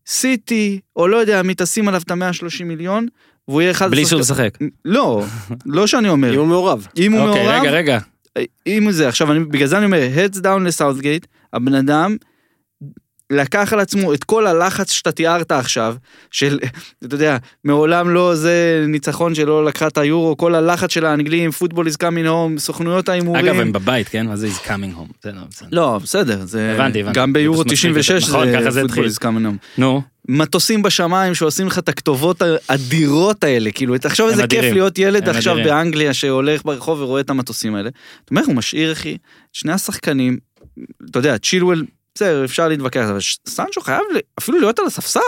[SPEAKER 3] סיטי, או לא יודע מי, תשים עליו את ה-130 מיליון, והוא יהיה אחד...
[SPEAKER 1] בלי שהוא
[SPEAKER 3] השחקנים-
[SPEAKER 1] משחק.
[SPEAKER 3] לא, לא שאני
[SPEAKER 2] אם
[SPEAKER 3] אומר.
[SPEAKER 2] הוא מעורב.
[SPEAKER 3] אם הוא
[SPEAKER 1] אוקיי,
[SPEAKER 3] מעורב,
[SPEAKER 1] רגע, רגע.
[SPEAKER 3] אם זה, עכשיו אני, בגלל זה אני אומר, heads down לסאוטגייט, הבן אדם לקח על עצמו את כל הלחץ שאתה תיארת עכשיו, של, אתה יודע, מעולם לא זה ניצחון שלא לקחה את היורו, כל הלחץ של האנגלים, פוטבול is coming home, סוכנויות ההימורים.
[SPEAKER 1] אגב, הם בבית, כן? מה זה is coming home? זה לא בסדר.
[SPEAKER 3] לא, בסדר, זה...
[SPEAKER 1] הבנתי, הבנתי.
[SPEAKER 3] גם ביורו
[SPEAKER 1] זה פשוט מצחיק אותי.
[SPEAKER 3] 96
[SPEAKER 1] נכון, ככה זה
[SPEAKER 3] זה
[SPEAKER 1] התחיל.
[SPEAKER 3] פוטבול is coming home.
[SPEAKER 1] נו,
[SPEAKER 3] מטוסים בשמיים שעושים לך את הכתובות האדירות האלה, כאילו, תחשוב
[SPEAKER 1] הם
[SPEAKER 3] איזה כיף
[SPEAKER 1] אדירים.
[SPEAKER 3] להיות ילד
[SPEAKER 1] הם
[SPEAKER 3] עכשיו
[SPEAKER 1] אדירים.
[SPEAKER 3] באנגליה שהולך ברחוב ורואה את המטוסים האלה. אתה אומר, הוא משאיר, אחי, את שני השחקנים, אתה יודע, צ'ילואל, בסדר, אפשר להתווכח, אבל ש- סנצ'ו חייב ל- אפילו להיות על הספסל.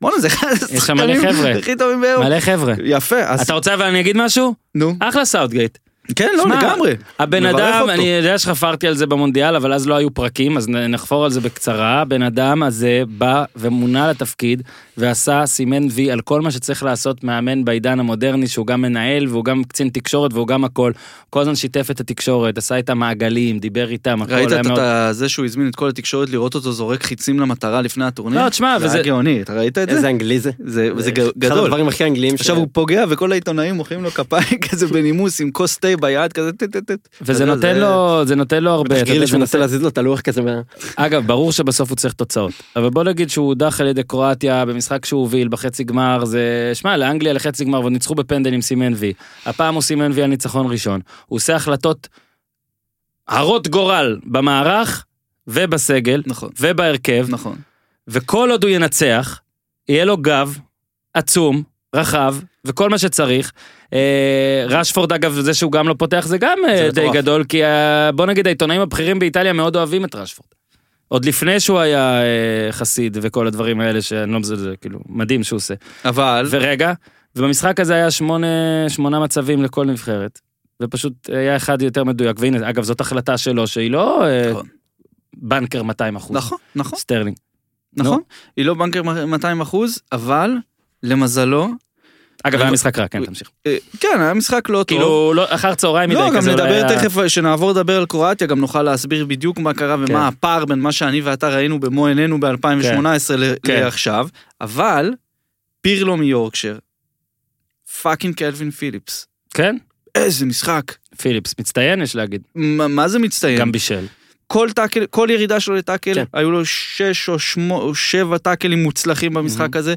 [SPEAKER 3] בואנה, זה אחד
[SPEAKER 1] יש שם מלא
[SPEAKER 3] השחקנים
[SPEAKER 1] חבר'ה.
[SPEAKER 3] הכי טובים באירופה.
[SPEAKER 1] מלא חבר'ה.
[SPEAKER 3] יפה, אז...
[SPEAKER 1] אתה רוצה אבל אני אגיד משהו?
[SPEAKER 3] נו.
[SPEAKER 1] אחלה סאוטגייט.
[SPEAKER 3] כן, לא,
[SPEAKER 1] שמע,
[SPEAKER 3] לגמרי.
[SPEAKER 1] הבן
[SPEAKER 3] מברך
[SPEAKER 1] אדם,
[SPEAKER 3] אותו.
[SPEAKER 1] אני יודע שחפרתי על זה במונדיאל, אבל אז לא היו פרקים, אז נ- נחפור על זה בקצרה. הבן אדם הזה בא ומונה לתפקיד, ועשה סימן וי על כל מה שצריך לעשות מאמן בעידן המודרני, שהוא גם מנהל, והוא גם קצין תקשורת, והוא גם הכל. כל הזמן שיתף את התקשורת, עשה איתם מעגלים, דיבר איתם, הכל.
[SPEAKER 3] ראית
[SPEAKER 1] היה
[SPEAKER 3] את
[SPEAKER 1] מאוד-
[SPEAKER 3] ה- זה שהוא הזמין את כל התקשורת לראות אותו זורק חיצים למטרה לפני הטורניר?
[SPEAKER 1] לא, תשמע,
[SPEAKER 3] זה
[SPEAKER 1] וזה- אה,
[SPEAKER 3] היה גאוני, אתה ראית את
[SPEAKER 2] איזה
[SPEAKER 3] זה?
[SPEAKER 2] אנגלי זה.
[SPEAKER 3] זה זה
[SPEAKER 2] אחד
[SPEAKER 3] גדול.
[SPEAKER 2] הדברים הכי אנגליים.
[SPEAKER 3] עכשיו
[SPEAKER 2] ש-
[SPEAKER 3] הוא פוגע וכל העיתונאים מוחאים לו כפיים כזה בנימוס עם כוס תה ביד כזה טט טט טט.
[SPEAKER 1] וזה
[SPEAKER 3] אתה יודע,
[SPEAKER 1] נותן
[SPEAKER 3] זה-
[SPEAKER 1] לו, זה נותן לו הרבה. אתה יודע,
[SPEAKER 2] גריליש
[SPEAKER 1] זה
[SPEAKER 2] מנסה להזיז לו את הלוח כזה. מה-
[SPEAKER 1] אגב, ברור שבסוף הוא צריך תוצאות. אבל בוא נגיד שהוא הודח על ידי קרואטיה במשחק שהוא הוביל בחצי גמר, זה... שמע, לאנגליה לחצי גמר, ועוד ניצחו בפנדל עם סימן וי. הפעם הוא סימן וי על ניצחון ראשון. הוא עושה החלטות הרות גורל במערך ובסגל
[SPEAKER 3] נכון,
[SPEAKER 1] ובהרכב,
[SPEAKER 3] נכון.
[SPEAKER 1] וכל עוד הוא ינצח, יהיה לו גב עצום, רחב, וכל מה שצריך. אה, רשפורד אגב, זה שהוא גם לא פותח זה גם אה,
[SPEAKER 2] זה
[SPEAKER 1] די
[SPEAKER 2] מטורף.
[SPEAKER 1] גדול, כי אה, בוא נגיד העיתונאים הבכירים באיטליה מאוד אוהבים את רשפורד. עוד לפני שהוא היה אה, חסיד וכל הדברים האלה, שאני לא מזלזל, כאילו, מדהים שהוא עושה.
[SPEAKER 3] אבל
[SPEAKER 1] ורגע, ובמשחק הזה היה שמונה, שמונה מצבים לכל נבחרת, ופשוט היה אחד יותר מדויק, והנה, אגב, זאת החלטה שלו, שהיא לא אה,
[SPEAKER 3] נכון.
[SPEAKER 1] בנקר 200 אחוז,
[SPEAKER 3] נכון, נכון,
[SPEAKER 1] סטרלינג.
[SPEAKER 3] נכון. היא לא בנקר מ- 200 אחוז, אבל למזלו,
[SPEAKER 1] אגב,
[SPEAKER 3] אני-
[SPEAKER 1] היה משחק רע, כן,
[SPEAKER 3] הוא-
[SPEAKER 1] תמשיך.
[SPEAKER 3] אה, כן, היה משחק לא טוב.
[SPEAKER 1] כאילו, לא, אחר צהריים מדי
[SPEAKER 3] לא, גם
[SPEAKER 1] כזה.
[SPEAKER 3] נדבר
[SPEAKER 1] היה-
[SPEAKER 3] תכף, שנעבור לדבר על קרואטיה, גם נוכל להסביר בדיוק מה קרה
[SPEAKER 1] כן.
[SPEAKER 3] ומה הפער בין מה שאני ואתה ראינו במו עינינו ב-2018
[SPEAKER 1] כן.
[SPEAKER 3] לעכשיו, אבל פירלו מיורקשר, פאקינג קלווין פיליפס,
[SPEAKER 1] כן,
[SPEAKER 3] איזה משחק,
[SPEAKER 1] פיליפס, מצטיין יש להגיד,
[SPEAKER 3] מה מה זה מצטיין?
[SPEAKER 1] גם בישל.
[SPEAKER 3] כל טאקל, כל ירידה שלו לטאקל,
[SPEAKER 2] כן.
[SPEAKER 3] היו לו שש או שמו, או שבע טאקלים מוצלחים במשחק הזה.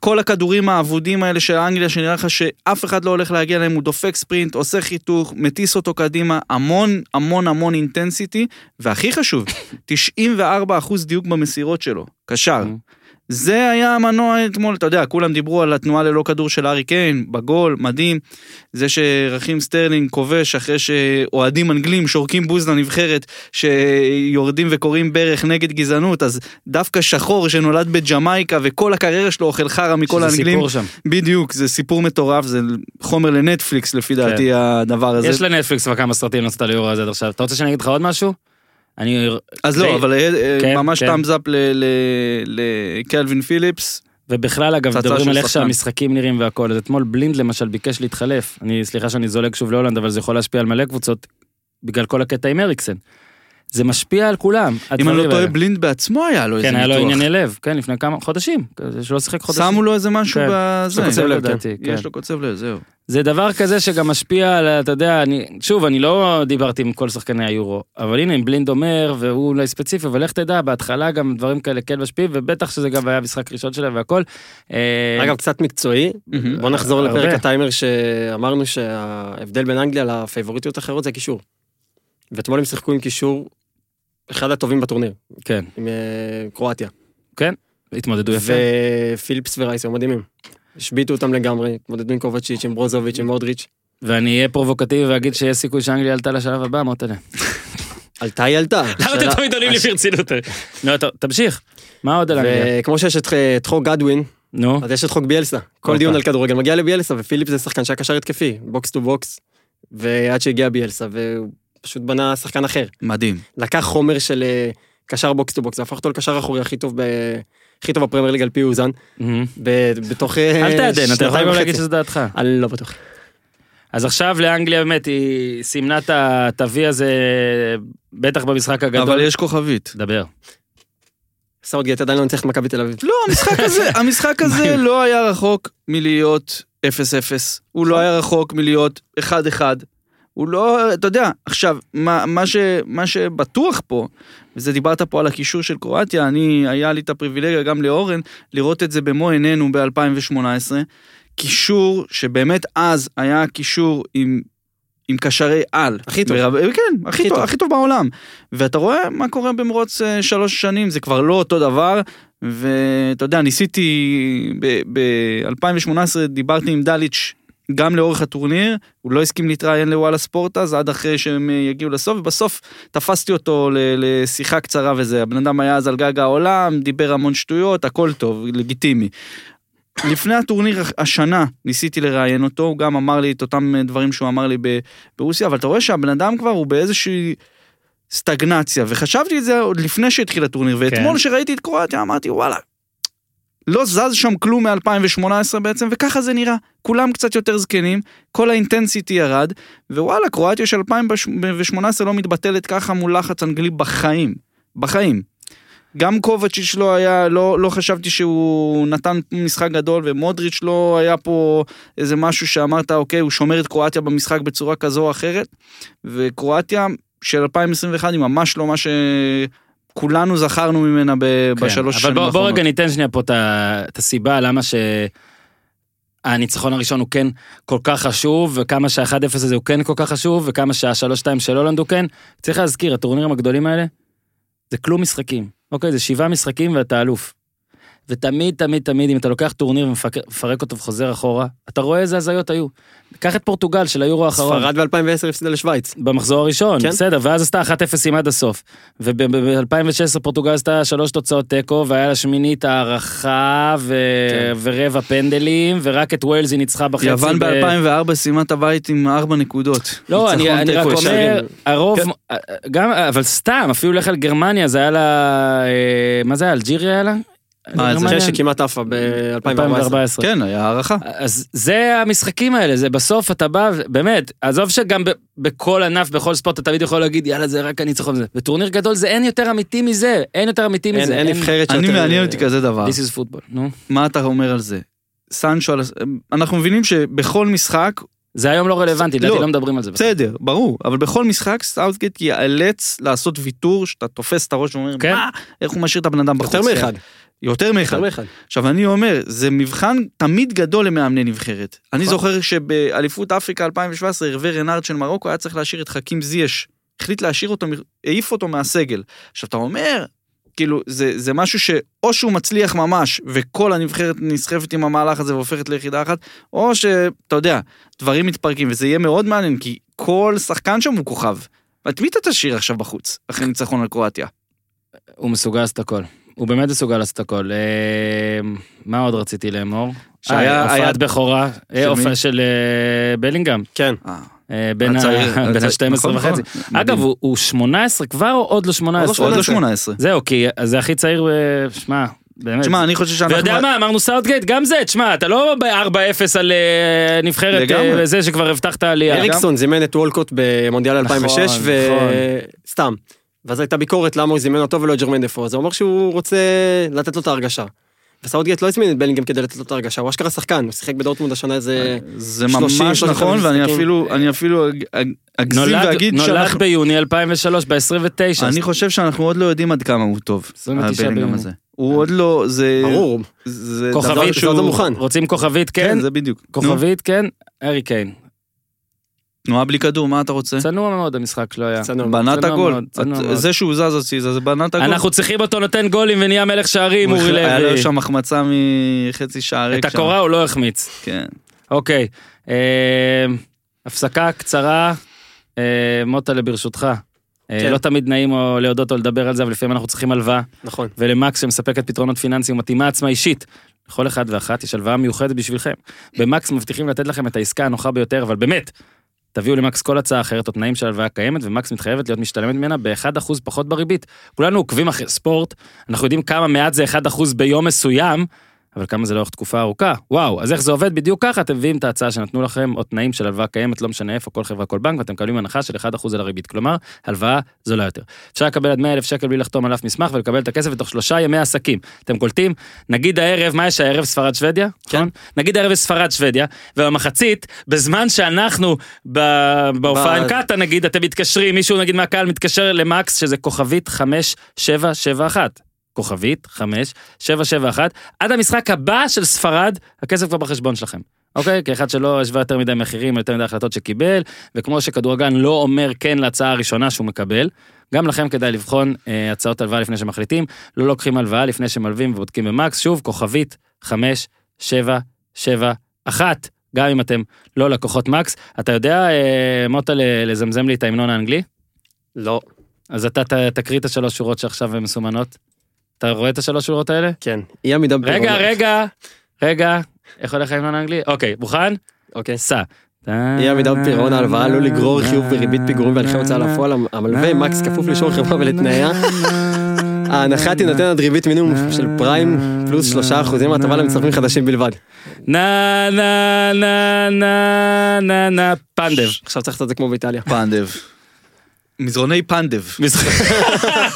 [SPEAKER 3] כל הכדורים האבודים האלה של אנגליה, שנראה לך שאף אחד לא הולך להגיע אליהם, הוא דופק ספרינט, עושה חיתוך, מטיס אותו קדימה, המון המון המון אינטנסיטי, והכי חשוב, 94% דיוק במסירות שלו, קשר.
[SPEAKER 1] Mhm.
[SPEAKER 3] זה היה המנוע אתמול, אתה יודע, כולם דיברו על התנועה ללא כדור של הארי קיין, בגול, מדהים. זה שרכים סטרלינג כובש אחרי שאוהדים אנגלים שורקים בוז לנבחרת, שיורדים וקוראים ברך נגד גזענות, אז דווקא שחור שנולד בג'מייקה וכל הקריירה שלו אוכל חרא מכל
[SPEAKER 1] שזה
[SPEAKER 3] האנגלים.
[SPEAKER 1] סיפור שם.
[SPEAKER 3] בדיוק, זה סיפור מטורף, זה חומר לנטפליקס לפי דעתי הדבר הזה.
[SPEAKER 1] כן. יש לנטפליקס כבר כמה סרטים נעשית ליאור הזה עד עכשיו. אתה רוצה שאני אגיד לך עוד משהו? אני...
[SPEAKER 3] אז
[SPEAKER 1] זה-
[SPEAKER 3] לא, אבל אה,
[SPEAKER 1] כן,
[SPEAKER 3] ממש
[SPEAKER 1] כן.
[SPEAKER 3] תאמז אפ לקלווין פיליפס.
[SPEAKER 1] ובכלל, אגב,
[SPEAKER 3] פצצה
[SPEAKER 1] מדברים
[SPEAKER 3] של
[SPEAKER 1] על איך
[SPEAKER 3] שחקן.
[SPEAKER 1] שהמשחקים נראים והכל. אז אתמול בלינד למשל ביקש להתחלף. אני, סליחה שאני זולג שוב להולנד, אבל זה יכול להשפיע על מלא קבוצות, בגלל כל הקטע עם הריקסן. זה משפיע על כולם.
[SPEAKER 3] אם אני
[SPEAKER 1] הדברים
[SPEAKER 3] לא טועה,
[SPEAKER 1] האלה.
[SPEAKER 3] בלינד בעצמו היה לו איזה
[SPEAKER 1] כן, היה לו
[SPEAKER 3] ניתוח.
[SPEAKER 1] ענייני לב, כן, לפני כמה חודשים, כזה שלא שיחק חודשים.
[SPEAKER 3] שמו לו איזה משהו
[SPEAKER 1] כן,
[SPEAKER 3] בזה.
[SPEAKER 2] קוצב לב,
[SPEAKER 1] לדעתי, כן.
[SPEAKER 3] יש לו קוצב לב, זהו.
[SPEAKER 1] זה דבר כזה שגם משפיע על, אתה יודע, אני, שוב, אני לא דיברתי עם כל שחקני היורו, אבל הנה, אם בלינד אומר, והוא אולי ספציפי, אבל לך תדע, בהתחלה גם דברים כאלה כן משפיעים, ובטח שזה גם היה משחק ראשון שלהם והכל. אה,
[SPEAKER 2] אגב, קצת מקצועי,
[SPEAKER 3] כן. מהמם.
[SPEAKER 2] בוא נחזור
[SPEAKER 1] הרבה.
[SPEAKER 2] לפרק הטיימר שאמרנו שההבדל בין אנגליה לפייבוריטיות האחרות זה קישור. ואתמול הם שיחקו עם קישור אחד הטובים בטורניר,
[SPEAKER 1] כן,
[SPEAKER 2] עם אה, קרואטיה.
[SPEAKER 1] התמודדו יפה.
[SPEAKER 2] ופיליפס ורייס היו מדהימים. השביתו אותם לגמרי, התמודדו עם קובצ'יץ', עם ברוזוביץ', עם מודריץ'.
[SPEAKER 1] ואני אהיה פרובוקטיבי ואגיד שיש סיכוי שאנגליה עלתה לשלב הבא, מוטלה.
[SPEAKER 2] עלתה היא עלתה.
[SPEAKER 1] למה
[SPEAKER 2] שאלה-
[SPEAKER 1] אתם תמיד עולים לי ברצינות? נו, לא, טוב, תמשיך. מה עוד על אנגליה?
[SPEAKER 2] וכמו שיש את אה, את חוק גדווין,
[SPEAKER 1] נו,
[SPEAKER 2] אז יש את חוק ביאלסה. כל
[SPEAKER 1] אופה.
[SPEAKER 2] דיון על כדורגל מגיע לביאלסה, ופיליפס זה שחקן שהיה קשר התקפי, בוקס טו בוקס, ועד שהגיע ביאלסה, והוא פשוט בנה שחקן אחר.
[SPEAKER 3] מדהים.
[SPEAKER 2] לקח חומר של אה, קשר בוקס טו בוקס, והפך אותו לקשר אחורי הכי טוב ב... הכי טוב בפרמייר ליג על פי אוזן,
[SPEAKER 1] מהמם.
[SPEAKER 2] ב- בתוך אה,
[SPEAKER 1] אה, אל תעדן, אתה יכול
[SPEAKER 2] שנתיים
[SPEAKER 1] גם
[SPEAKER 2] וחצי.
[SPEAKER 1] להגיד שזו דעתך.
[SPEAKER 2] אני לא בטוח.
[SPEAKER 1] אז עכשיו לאנגליה באמת, היא סימנה את התווי הזה, בטח במשחק הגדול.
[SPEAKER 3] אבל יש כוכבית.
[SPEAKER 1] דבר.
[SPEAKER 2] סאוטגייט עדיין לא נצטרך את מכבי תל אביב.
[SPEAKER 3] לא, המשחק הזה, המשחק הזה לא היה רחוק מלהיות 0-0. הוא לא היה רחוק מלהיות 1-1. הוא לא, אתה יודע, עכשיו, מה, מה, ש, מה שבטוח פה, וזה דיברת פה על הקישור של קרואטיה, אני, היה לי את הפריבילגיה גם לאורן, לראות את זה במו עינינו ב-2018. קישור שבאמת אז היה קישור עם, עם קשרי על.
[SPEAKER 2] הכי טוב.
[SPEAKER 3] ברב, כן, הכי
[SPEAKER 2] הכי
[SPEAKER 3] טוב,
[SPEAKER 2] טוב.
[SPEAKER 3] הכי טוב בעולם. ואתה רואה מה קורה במרוץ אה, שלוש שנים, זה כבר לא אותו דבר. ואתה יודע, ניסיתי, ב-2018 דיברתי עם דליץ' גם לאורך הטורניר, הוא לא הסכים להתראיין לוואלה ספורט אז, עד אחרי שהם אה, יגיעו לסוף, ובסוף תפסתי אותו ל- לשיחה קצרה וזה. הבן אדם היה אז על גג העולם, דיבר המון שטויות, הכל טוב, לגיטימי. לפני הטורניר השנה ניסיתי לראיין אותו, הוא גם אמר לי את אותם אה, דברים שהוא אמר לי ב- ברוסיה, אבל אתה רואה שהבן אדם כבר הוא באיזושהי סטגנציה, וחשבתי את זה עוד לפני שהתחיל הטורניר, ואתמול שראיתי את קרואטיה אמרתי וואלה, לא זז שם כלום מ-2018 בעצם, וככה זה נראה. כולם קצת יותר זקנים, כל האינטנסיטי ירד, ווואלה, קרואטיה של 2018 לא מתבטלת ככה מול לחץ אנגלי בחיים. בחיים. גם קובצ'יץ' לא היה, לא, לא חשבתי שהוא נתן משחק גדול, ומודריץ' לא היה פה איזה משהו שאמרת, אוקיי, הוא שומר את קרואטיה במשחק בצורה כזו או אחרת, וקרואטיה של 2021 היא ממש לא מה שכולנו זכרנו ממנה ב-
[SPEAKER 1] כן.
[SPEAKER 3] בשלוש שנים
[SPEAKER 1] אבל בוא-
[SPEAKER 3] האחרונות.
[SPEAKER 1] בוא רגע ניתן שנייה פה את ה- את הסיבה למה שהניצחון הראשון הוא כן כל כך חשוב, וכמה שה-1-0 הזה הוא כן כל כך חשוב, וכמה שה-3-2 של הולנד הוא כן. צריך להזכיר, הטורנירים הגדולים האלה, זה כלום משחקים. אוקיי, זה שבעה משחקים ואתה אלוף. ותמיד, תמיד, תמיד, אם אתה לוקח טורניר ומפרק אותו וחוזר אחורה, אתה רואה איזה הזיות היו. קח את פורטוגל של היורו האחרון.
[SPEAKER 2] ספרד ב-2010 הפסידה לשוויץ.
[SPEAKER 1] במחזור הראשון, כן?
[SPEAKER 2] כן.
[SPEAKER 1] בסדר, ואז עשתה 1-0 עם עד הסוף. וב-2016 פורטוגל עשתה שלוש תוצאות תיקו, והיה לה שמינית הערכה ו... כן. ורבע פנדלים, ורק את ווילס היא ניצחה בחצי.
[SPEAKER 3] יוון ב-2004 סיימה את הבית עם ארבע נקודות.
[SPEAKER 1] לא, אני,
[SPEAKER 3] ניצחון
[SPEAKER 1] אני רק
[SPEAKER 3] תיקו, יש כן.
[SPEAKER 1] אומר,
[SPEAKER 3] להגיד.
[SPEAKER 1] הרוב, אה, גם, אבל סתם, אפילו לך על גרמניה, זה היה לה, אה, מה זה היה, אלג'יריה היה לה? לא אה,
[SPEAKER 3] אה, זה
[SPEAKER 1] גרמניה?
[SPEAKER 2] זה שכמעט עפה ב-2014.
[SPEAKER 1] 2014.
[SPEAKER 3] כן, היה הערכה.
[SPEAKER 1] אז זה המשחקים האלה, זה בסוף אתה בא, ו- באמת, עזוב שגם ב- בכל ענף, בכל ספורט, אתה תמיד יכול להגיד, יאללה, זה רק הניצחון הזה. בטורניר גדול זה אין יותר אמיתי מזה, אין יותר אמיתי
[SPEAKER 2] אין
[SPEAKER 1] מזה.
[SPEAKER 2] אין נבחרת
[SPEAKER 3] אני
[SPEAKER 2] שיותר- אה,
[SPEAKER 3] מעניין אותי כזה דבר,
[SPEAKER 1] אה, This is football, נו.
[SPEAKER 3] מה אתה אומר על זה? סנצ'ו, על הס- אנחנו מבינים שבכל משחק,
[SPEAKER 1] זה היום לא רלוונטי,
[SPEAKER 3] לא.
[SPEAKER 1] לדעתי לא מדברים על זה. בכלל.
[SPEAKER 3] בסדר, ברור, אבל בכל משחק סאוטגייט ייאלץ לעשות ויתור, שאתה תופס את הראש ואומר,
[SPEAKER 1] כן.
[SPEAKER 3] מה, איך הוא משאיר את הבן אדם בחוץ?
[SPEAKER 2] יותר מאחד.
[SPEAKER 3] יותר מאחד.
[SPEAKER 2] יותר מאחד.
[SPEAKER 3] עכשיו אני אומר, זה מבחן תמיד גדול למאמני נבחרת. אני
[SPEAKER 2] נכון.
[SPEAKER 3] זוכר שבאליפות אפריקה 2017, הרווה רנארד של מרוקו היה צריך להשאיר את חכים זייש. החליט להשאיר אותו, מ- העיף אותו מהסגל. עכשיו אתה אומר, כאילו, זה, זה משהו שאו שהוא מצליח ממש, וכל הנבחרת נסחפת עם המהלך הזה והופכת ליחידה אחת, או שאתה יודע, דברים מתפרקים, וזה יהיה מאוד מעניין, כי כל שחקן שם הוא כוכב. את מי אתה תשאיר עכשיו בחוץ, אחרי ניצחון על קרואטיה?
[SPEAKER 1] הוא מסוגל לעשות הכל. הוא באמת מסוגל לעשות הכל. אה, מה עוד רציתי לאמור?
[SPEAKER 3] שהיה-
[SPEAKER 1] אה,
[SPEAKER 3] היה-
[SPEAKER 1] הופעת בכורה, אה,
[SPEAKER 3] של
[SPEAKER 1] הופעה
[SPEAKER 3] מי?
[SPEAKER 1] של אה, בלינגהם,
[SPEAKER 2] כן.
[SPEAKER 3] אה,
[SPEAKER 1] אה, בין
[SPEAKER 3] הצעיר,
[SPEAKER 1] ה- בין
[SPEAKER 3] הצעיר,
[SPEAKER 1] ה-12
[SPEAKER 3] נכון,
[SPEAKER 1] וחצי.
[SPEAKER 3] נכון,
[SPEAKER 1] אגב,
[SPEAKER 3] מדהים.
[SPEAKER 1] הוא- הוא 18 כבר או עוד לא 18?
[SPEAKER 3] עוד לא 18.
[SPEAKER 1] זהו, כי זה הכי צעיר, אה, שמע, באמת.
[SPEAKER 3] תשמע, אני חושב שאנחנו...
[SPEAKER 1] ויודע מה, אמרנו סאוטגייט, גם זה, תשמע, אתה לא ב-4-0 על אה, נבחרת
[SPEAKER 3] לגמרי.
[SPEAKER 1] אה, זה שכבר הבטחת עלייה.
[SPEAKER 2] אריקסון זימן את וולקוט במונדיאל 2006,
[SPEAKER 1] נכון,
[SPEAKER 2] וסתם. ואז הייתה ביקורת למה הוא זימן אותו ולא את ג'רמן דפו, אז הוא אמר שהוא רוצה לתת לו את ההרגשה. וסאוטגייט לא הזמין את בלינגהם כדי לתת לו את ההרגשה, הוא אשכרה שחקן, הוא שיחק בדורטמונד השנה איזה...
[SPEAKER 3] זה
[SPEAKER 2] 30,
[SPEAKER 3] ממש
[SPEAKER 2] 35
[SPEAKER 3] נכון, ואני
[SPEAKER 2] משחקים.
[SPEAKER 3] אפילו, אני אפילו אג- אג- אגזים
[SPEAKER 1] כאילו- נולד
[SPEAKER 3] ואגיד
[SPEAKER 1] נולד
[SPEAKER 3] שאנחנו...
[SPEAKER 1] ביוני 2003, ב-29.
[SPEAKER 3] אני חושב שאנחנו עוד לא יודעים עד כמה הוא טוב.
[SPEAKER 1] 29
[SPEAKER 3] הבלינגהאם
[SPEAKER 1] ביוני.
[SPEAKER 3] הזה. הוא עוד לא, זה...
[SPEAKER 2] ברור,
[SPEAKER 3] זה דבר
[SPEAKER 1] כוכבית,
[SPEAKER 2] זה עוד לא מוכן.
[SPEAKER 1] רוצים כוכבית, כן?
[SPEAKER 3] כן, זה בדיוק.
[SPEAKER 1] כוכבית, כן? ארי קיין.
[SPEAKER 3] נו, תנועה בלי כדור, מה אתה רוצה?
[SPEAKER 1] צנוע מאוד המשחק לא היה.
[SPEAKER 2] צנוע.
[SPEAKER 3] בנה את
[SPEAKER 1] צנוע
[SPEAKER 3] הגול.
[SPEAKER 1] מאוד, צנוע
[SPEAKER 3] את-
[SPEAKER 1] מאוד.
[SPEAKER 3] זה שהוא זז הציזה, זה בנה את הגול.
[SPEAKER 1] אנחנו צריכים אותו נותן גולים ונהיה מלך שערים,
[SPEAKER 3] הוא
[SPEAKER 1] אורי
[SPEAKER 3] החל- היה לו
[SPEAKER 1] לוי.
[SPEAKER 3] שם החמצה מחצי שעה ריק
[SPEAKER 1] את
[SPEAKER 3] שם.
[SPEAKER 1] הקורה הוא לא החמיץ.
[SPEAKER 3] כן.
[SPEAKER 1] אוקיי. אה, הפסקה קצרה. אה, מוטלה ברשותך. אה,
[SPEAKER 2] כן.
[SPEAKER 1] לא תמיד נעים או להודות או לדבר על זה, אבל לפעמים אנחנו צריכים הלוואה.
[SPEAKER 2] נכון.
[SPEAKER 1] ולמקס שמספקת פתרונות פיננסיים ומתאימה עצמה אישית. לכל אחד ואחת יש הלוואה מיוחדת בשבילכם. במקס מבטיחים לתת לכם את העסקה הנוחה ביותר, אבל באמת, תביאו למקס כל הצעה אחרת או תנאים של הלוואה קיימת, ומקס מתחייבת להיות משתלמת ממנה ב-1% פחות בריבית. כולנו עוקבים אחרי ספורט, אנחנו יודעים כמה מעט זה 1% ביום מסוים, אבל כמה זה לאורך תקופה ארוכה. וואו, אז איך זה עובד? בדיוק ככה, אתם מביאים את ההצעה שנתנו לכם, או תנאים של הלוואה קיימת, לא משנה איפה, כל חברה, כל בנק, ואתם מקבלים הנחה של 1% על הריבית. כלומר, הלוואה זולה יותר. אפשר לקבל עד 100,000 שקל בלי לחתום על אף מסמך ולקבל את הכסף בתוך שלושה ימי עסקים. אתם קולטים? נגיד הערב, מה יש הערב? ספרד שוודיה? כן. נגיד הערב יש ספרד שוודיה, ובמחצית, בזמן שאנחנו ב- בהופעה עם
[SPEAKER 2] ב-
[SPEAKER 1] קאטה נגיד, אתם מתקשרים, מישהו נגיד מהקהל מתקשר למקס, שזה כוכבית 5771. כוכבית 5771, עד המשחק הבא של ספרד, הכסף כבר בחשבון שלכם. אוקיי? כאחד שלא השווה יותר מדי מחירים, יותר מדי החלטות שקיבל, וכמו שכדורגלן לא אומר כן להצעה הראשונה שהוא מקבל, גם לכם כדאי לבחון אה, הצעות הלוואה לפני שמחליטים, לא לוקחים הלוואה לפני שמלווים ובודקים במקס, שוב, כוכבית 5771, גם אם אתם לא לקוחות מקס. אתה יודע, אה, מוטה, ל- לזמזם לי את ההמנון האנגלי?
[SPEAKER 2] לא.
[SPEAKER 1] אז אתה ת, תקריא את השלוש שורות שעכשיו הן מסומנות. אתה רואה את השלוש שורות האלה?
[SPEAKER 2] כן. אי עמידה בפירומט.
[SPEAKER 1] רגע, רגע, רגע, איך הולך ההמנון האנגלי? אוקיי, מוכן?
[SPEAKER 2] אוקיי.
[SPEAKER 1] סע.
[SPEAKER 2] אי עמידה בפירעון ההלוואה עלול לגרור חיוב בריבית פיגורים והליכי הוצאה לפועל, המלווה מקס כפוף לאישור חברה ולתנאיה. ההנחה תינתן עד ריבית מינימום של פריים פלוס שלושה אחוזים הטבה למצטרפים חדשים בלבד.
[SPEAKER 1] נה נה נה נה נה נה פנדב.
[SPEAKER 2] עכשיו צריך לעשות את זה כמו באיטליה.
[SPEAKER 3] פנדב. מזרוני פנדב.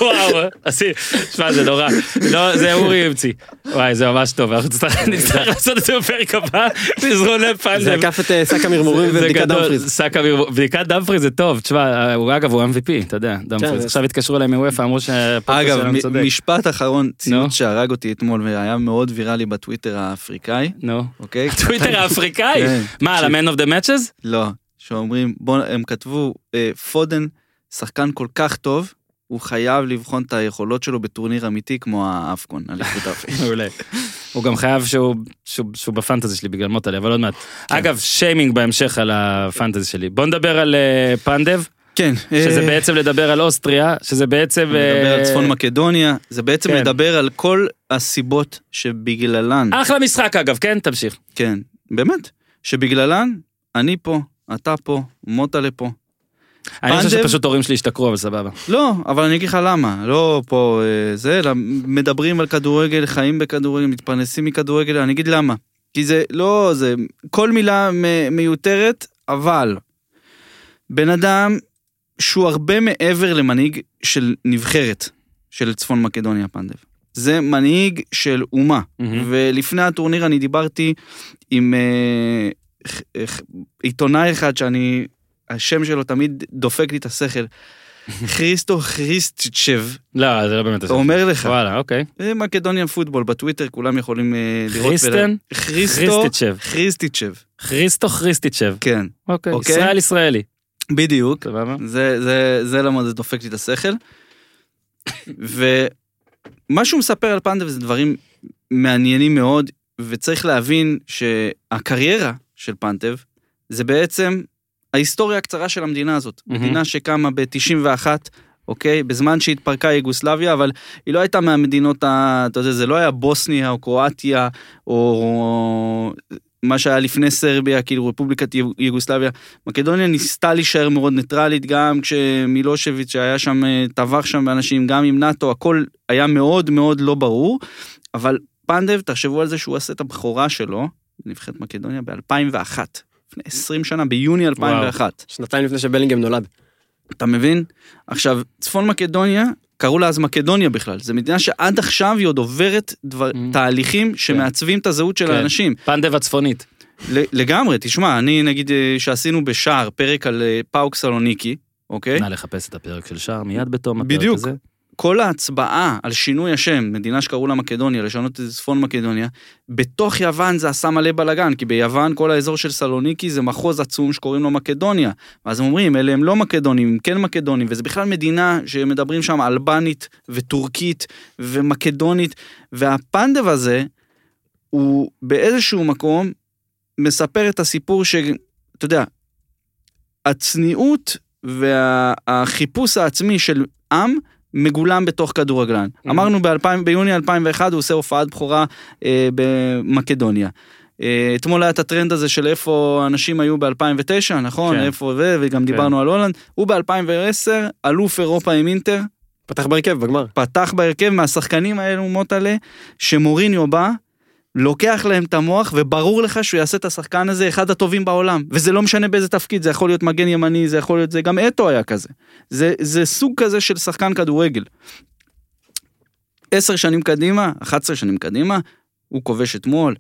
[SPEAKER 1] וואו, עשי, שמע זה נורא, לא, זה אורי המציא, וואי זה ממש טוב, אנחנו נצטרך נצטרך לעשות את זה בפרק הבא, מזרוני
[SPEAKER 2] זה
[SPEAKER 1] פנדב.
[SPEAKER 2] עקף את אה, שק המרמורים
[SPEAKER 1] זה
[SPEAKER 2] ובדיקת
[SPEAKER 1] גדול,
[SPEAKER 2] דאמפריז.
[SPEAKER 1] שק אוויר- בדיקת דאמפריז זה טוב, תשמע, הוא אגב הוא MVP, אתה יודע, דאמפריז,
[SPEAKER 2] כן, זה-
[SPEAKER 1] עכשיו התקשרו אליי מוופא, אמרו שהפודקאסט
[SPEAKER 3] אגב,
[SPEAKER 1] שלנו
[SPEAKER 3] מ-
[SPEAKER 1] צודק.
[SPEAKER 3] משפט אחרון,
[SPEAKER 1] נו.
[SPEAKER 3] ציוץ שהרג אותי אתמול והיה מאוד ויראלי בטוויטר האפריקאי,
[SPEAKER 1] נו.
[SPEAKER 3] אוקיי?
[SPEAKER 1] טוויטר האפריקאי?
[SPEAKER 3] כן,
[SPEAKER 1] מה, על ה-Man of the Matches?
[SPEAKER 3] לא, שאומרים, בוא, הם כתבו, אה, פודן, שחקן כל כך טוב, הוא חייב לבחון את היכולות שלו בטורניר אמיתי כמו האפקון, אליפות אפריקה.
[SPEAKER 1] מעולה. הוא גם חייב שהוא, שהוא, שהוא בפנטזי שלי בגלל מוטלי, אבל עוד מעט.
[SPEAKER 2] כן.
[SPEAKER 1] אגב, שיימינג בהמשך על הפנטזי שלי. בוא נדבר על אה, פנדב,
[SPEAKER 3] כן.
[SPEAKER 1] שזה
[SPEAKER 3] אה,
[SPEAKER 1] בעצם לדבר על אוסטריה, שזה בעצם...
[SPEAKER 3] מדבר על
[SPEAKER 1] אה,
[SPEAKER 3] צפון מקדוניה, זה בעצם
[SPEAKER 1] כן. אה.
[SPEAKER 3] לדבר על כל הסיבות שבגללן,
[SPEAKER 1] אחלה משחק אגב, כן? תמשיך.
[SPEAKER 3] כן, באמת, שבגללן, אני פה, אתה פה, מוטלה פה.
[SPEAKER 1] אני חושב
[SPEAKER 3] פנדב-
[SPEAKER 1] שפשוט הורים שלי השתכרו, אבל סבבה.
[SPEAKER 3] לא, אבל אני אגיד לך למה, לא פה אה, זה, אלא מדברים על כדורגל, חיים בכדורגל, מתפרנסים מכדורגל, אני אגיד למה. כי זה, לא, זה, כל מילה מ- מיותרת, אבל בן אדם שהוא הרבה מעבר למנהיג של נבחרת של צפון מקדוניה פנדב. זה מנהיג של אומה. ולפני הטורניר אני דיברתי עם אה, ח- ח- עיתונאי אחד שאני, השם שלו תמיד דופק לי את השכל. חריסטו חריסטצ'ב,
[SPEAKER 1] לא, זה לא באמת...
[SPEAKER 3] הוא אומר לך,
[SPEAKER 1] וואלה, אוקיי.
[SPEAKER 3] זה מקדוניה פוטבול, בטוויטר כולם יכולים אה, לראות.
[SPEAKER 1] חריסטן?
[SPEAKER 3] ול- חריסטו
[SPEAKER 1] חריסטיצ'ב.
[SPEAKER 3] חריסטיצ'ב,
[SPEAKER 1] חריסטו חריסטיצ'ב.
[SPEAKER 3] כן,
[SPEAKER 1] אוקיי.
[SPEAKER 3] אוקיי.
[SPEAKER 1] ישראל ישראלי.
[SPEAKER 3] בדיוק.
[SPEAKER 1] סבבה?
[SPEAKER 3] זה, זה, זה למה זה דופק לי את השכל. ו, מה שהוא מספר על פנדב זה דברים מעניינים מאוד, וצריך להבין שהקריירה של פנטב זה בעצם ההיסטוריה הקצרה של המדינה הזאת.
[SPEAKER 1] מהמם.
[SPEAKER 3] מדינה שקמה ב-91, אוקיי? בזמן שהתפרקה יוגוסלביה, אבל היא לא הייתה מהמדינות ה... אתה יודע, זה לא היה בוסניה או קרואטיה או מה שהיה לפני סרביה, כאילו רפובליקת יוג- יוגוסלביה. מקדוניה ניסתה להישאר מאוד ניטרלית, גם כשמילושביץ' שהיה שם, אה, טבח שם באנשים, גם עם נאטו, הכל היה מאוד מאוד לא ברור, אבל פנדב, תחשבו על זה שהוא עשה את הבכורה שלו, נבחרת מקדוניה ב-2001, לפני 20 שנה, ביוני 2001.
[SPEAKER 2] שנתיים לפני שבלינגהם נולד.
[SPEAKER 3] אתה מבין? עכשיו, צפון מקדוניה, קראו לה אז מקדוניה בכלל. זו מדינה שעד עכשיו היא עוד עוברת דבר,
[SPEAKER 1] Mm.
[SPEAKER 3] תהליכים שמעצבים את הזהות של
[SPEAKER 1] כן.
[SPEAKER 3] האנשים.
[SPEAKER 1] פנדב הצפונית.
[SPEAKER 3] ל- לגמרי, תשמע, אני נגיד אה, שעשינו בשער פרק על אה, פאוק סלוניקי, אוקיי?
[SPEAKER 1] נא לחפש את הפרק של שער מיד בתום הפרק
[SPEAKER 3] בדיוק.
[SPEAKER 1] הזה.
[SPEAKER 3] כל ההצבעה על שינוי השם, מדינה שקראו לה מקדוניה, לשנות את צפון מקדוניה, בתוך יוון זה עשה מלא בלאגן, כי ביוון כל האזור של סלוניקי זה מחוז עצום שקוראים לו מקדוניה. ואז הם אומרים, אלה הם לא מקדונים, הם כן מקדונים, וזה בכלל מדינה שמדברים שם אלבנית וטורקית ומקדונית, והפנדב הזה, הוא באיזשהו מקום מספר את הסיפור ש... אתה יודע, הצניעות והחיפוש העצמי של עם מגולם בתוך כדורגלן.
[SPEAKER 2] Mm-hmm.
[SPEAKER 1] Mhm.
[SPEAKER 3] אמרנו ב-2000, ביוני 2001 הוא עושה הופעת בכורה אה, במקדוניה. אה, אתמול היה את הטרנד הזה של איפה אנשים היו ב-2009, נכון?
[SPEAKER 1] כן.
[SPEAKER 3] כן. איפה זה, וגם
[SPEAKER 1] כן.
[SPEAKER 3] דיברנו על הולנד. הוא ב-2010 אלוף אירופה עם אינטר,
[SPEAKER 2] פתח בהרכב, בגמר.
[SPEAKER 3] פתח בהרכב מהשחקנים האלו מוטלה, שמוריניו בא, לוקח להם את המוח, וברור לך שהוא יעשה את השחקן הזה אחד הטובים בעולם. וזה לא משנה באיזה תפקיד, זה יכול להיות מגן ימני, זה יכול להיות זה, גם אתו היה כזה. זה, זה סוג כזה של שחקן כדורגל. עשר שנים קדימה, 11 שנים קדימה, הוא כובש אתמול.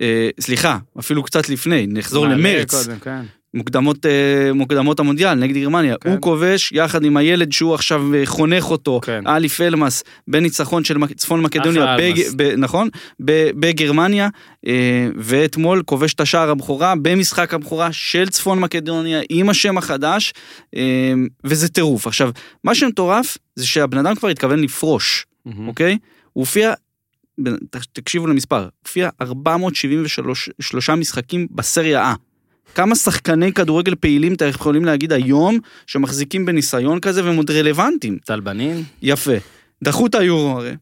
[SPEAKER 3] אה, סליחה, אפילו קצת לפני, נחזור
[SPEAKER 1] מעלה
[SPEAKER 3] למרץ.
[SPEAKER 1] קודם, כן.
[SPEAKER 3] מוקדמות, אה, מוקדמות המונדיאל נגד גרמניה.
[SPEAKER 1] כן.
[SPEAKER 3] כן. הוא כובש יחד עם הילד שהוא עכשיו אה, חונך אותו,
[SPEAKER 1] כן.
[SPEAKER 3] אליף אלמס, בניצחון של מק- צפון מקדוניה,
[SPEAKER 1] אחלה אלמס.
[SPEAKER 3] בג, ב, נכון? ב, בגרמניה, אה, ואתמול כובש את השער הבכורה במשחק הבכורה של צפון מקדוניה עם השם החדש, אה, וזה טירוף. עכשיו, מה שמטורף זה שהבן אדם כבר התכוון לפרוש,
[SPEAKER 1] מהמם.
[SPEAKER 3] אוקיי? הוא הופיע... בנ- ת- תקשיבו למספר, הופיע 473 משחקים בסריה A. כמה שחקני כדורגל פעילים אתה יכולים להגיד היום, שמחזיקים בניסיון כזה והם עוד רלוונטיים?
[SPEAKER 1] טל בנין.
[SPEAKER 3] יפה. דחו את היורו הרי,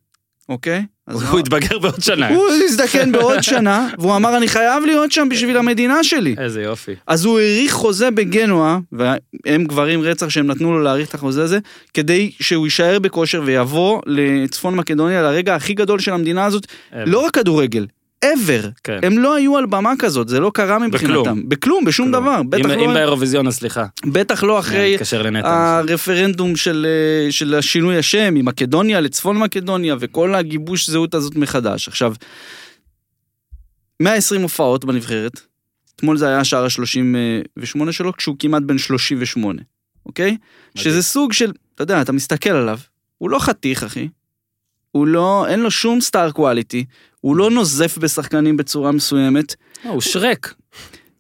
[SPEAKER 3] אוקיי? אז
[SPEAKER 1] הוא התבגר בעוד שנה.
[SPEAKER 3] הוא הזדקן בעוד שנה, והוא אמר, אני חייב להיות שם בשביל המדינה שלי.
[SPEAKER 1] איזה יופי.
[SPEAKER 3] אז הוא האריך חוזה בגנואה, והם גברים רצח שהם נתנו לו להאריך את החוזה הזה, כדי שהוא יישאר בכושר ויבוא לצפון מקדוניה לרגע הכי גדול של המדינה הזאת,
[SPEAKER 1] אה,
[SPEAKER 3] לא רק כדורגל, ever.
[SPEAKER 1] כן.
[SPEAKER 3] הם לא היו על במה כזאת, זה לא קרה מבחינתם. בכלום, בשום דבר. בטח
[SPEAKER 1] אם-
[SPEAKER 3] לא-
[SPEAKER 1] אם כן, באירוויזיון, אז סליחה.
[SPEAKER 3] בטח לא
[SPEAKER 1] אני
[SPEAKER 3] אחרי אה,
[SPEAKER 1] אתקשר לנטע.
[SPEAKER 3] הרפרנדום של, אה, של השינוי השם ממקדוניה לצפון מקדוניה וכל הגיבוש זהות הזאת מחדש. עכשיו, 120 הופעות בנבחרת, אתמול זה היה השער ה-38 שלו, כשהוא כמעט בן 38, אוקיי? שזה סוג של, אתה יודע, אתה מסתכל עליו, הוא לא חתיך, אחי. הוא לא, אין לו שום סטאר קואליטי, הוא לא נוזף בשחקנים בצורה מסוימת,
[SPEAKER 1] אה, הוא שרק.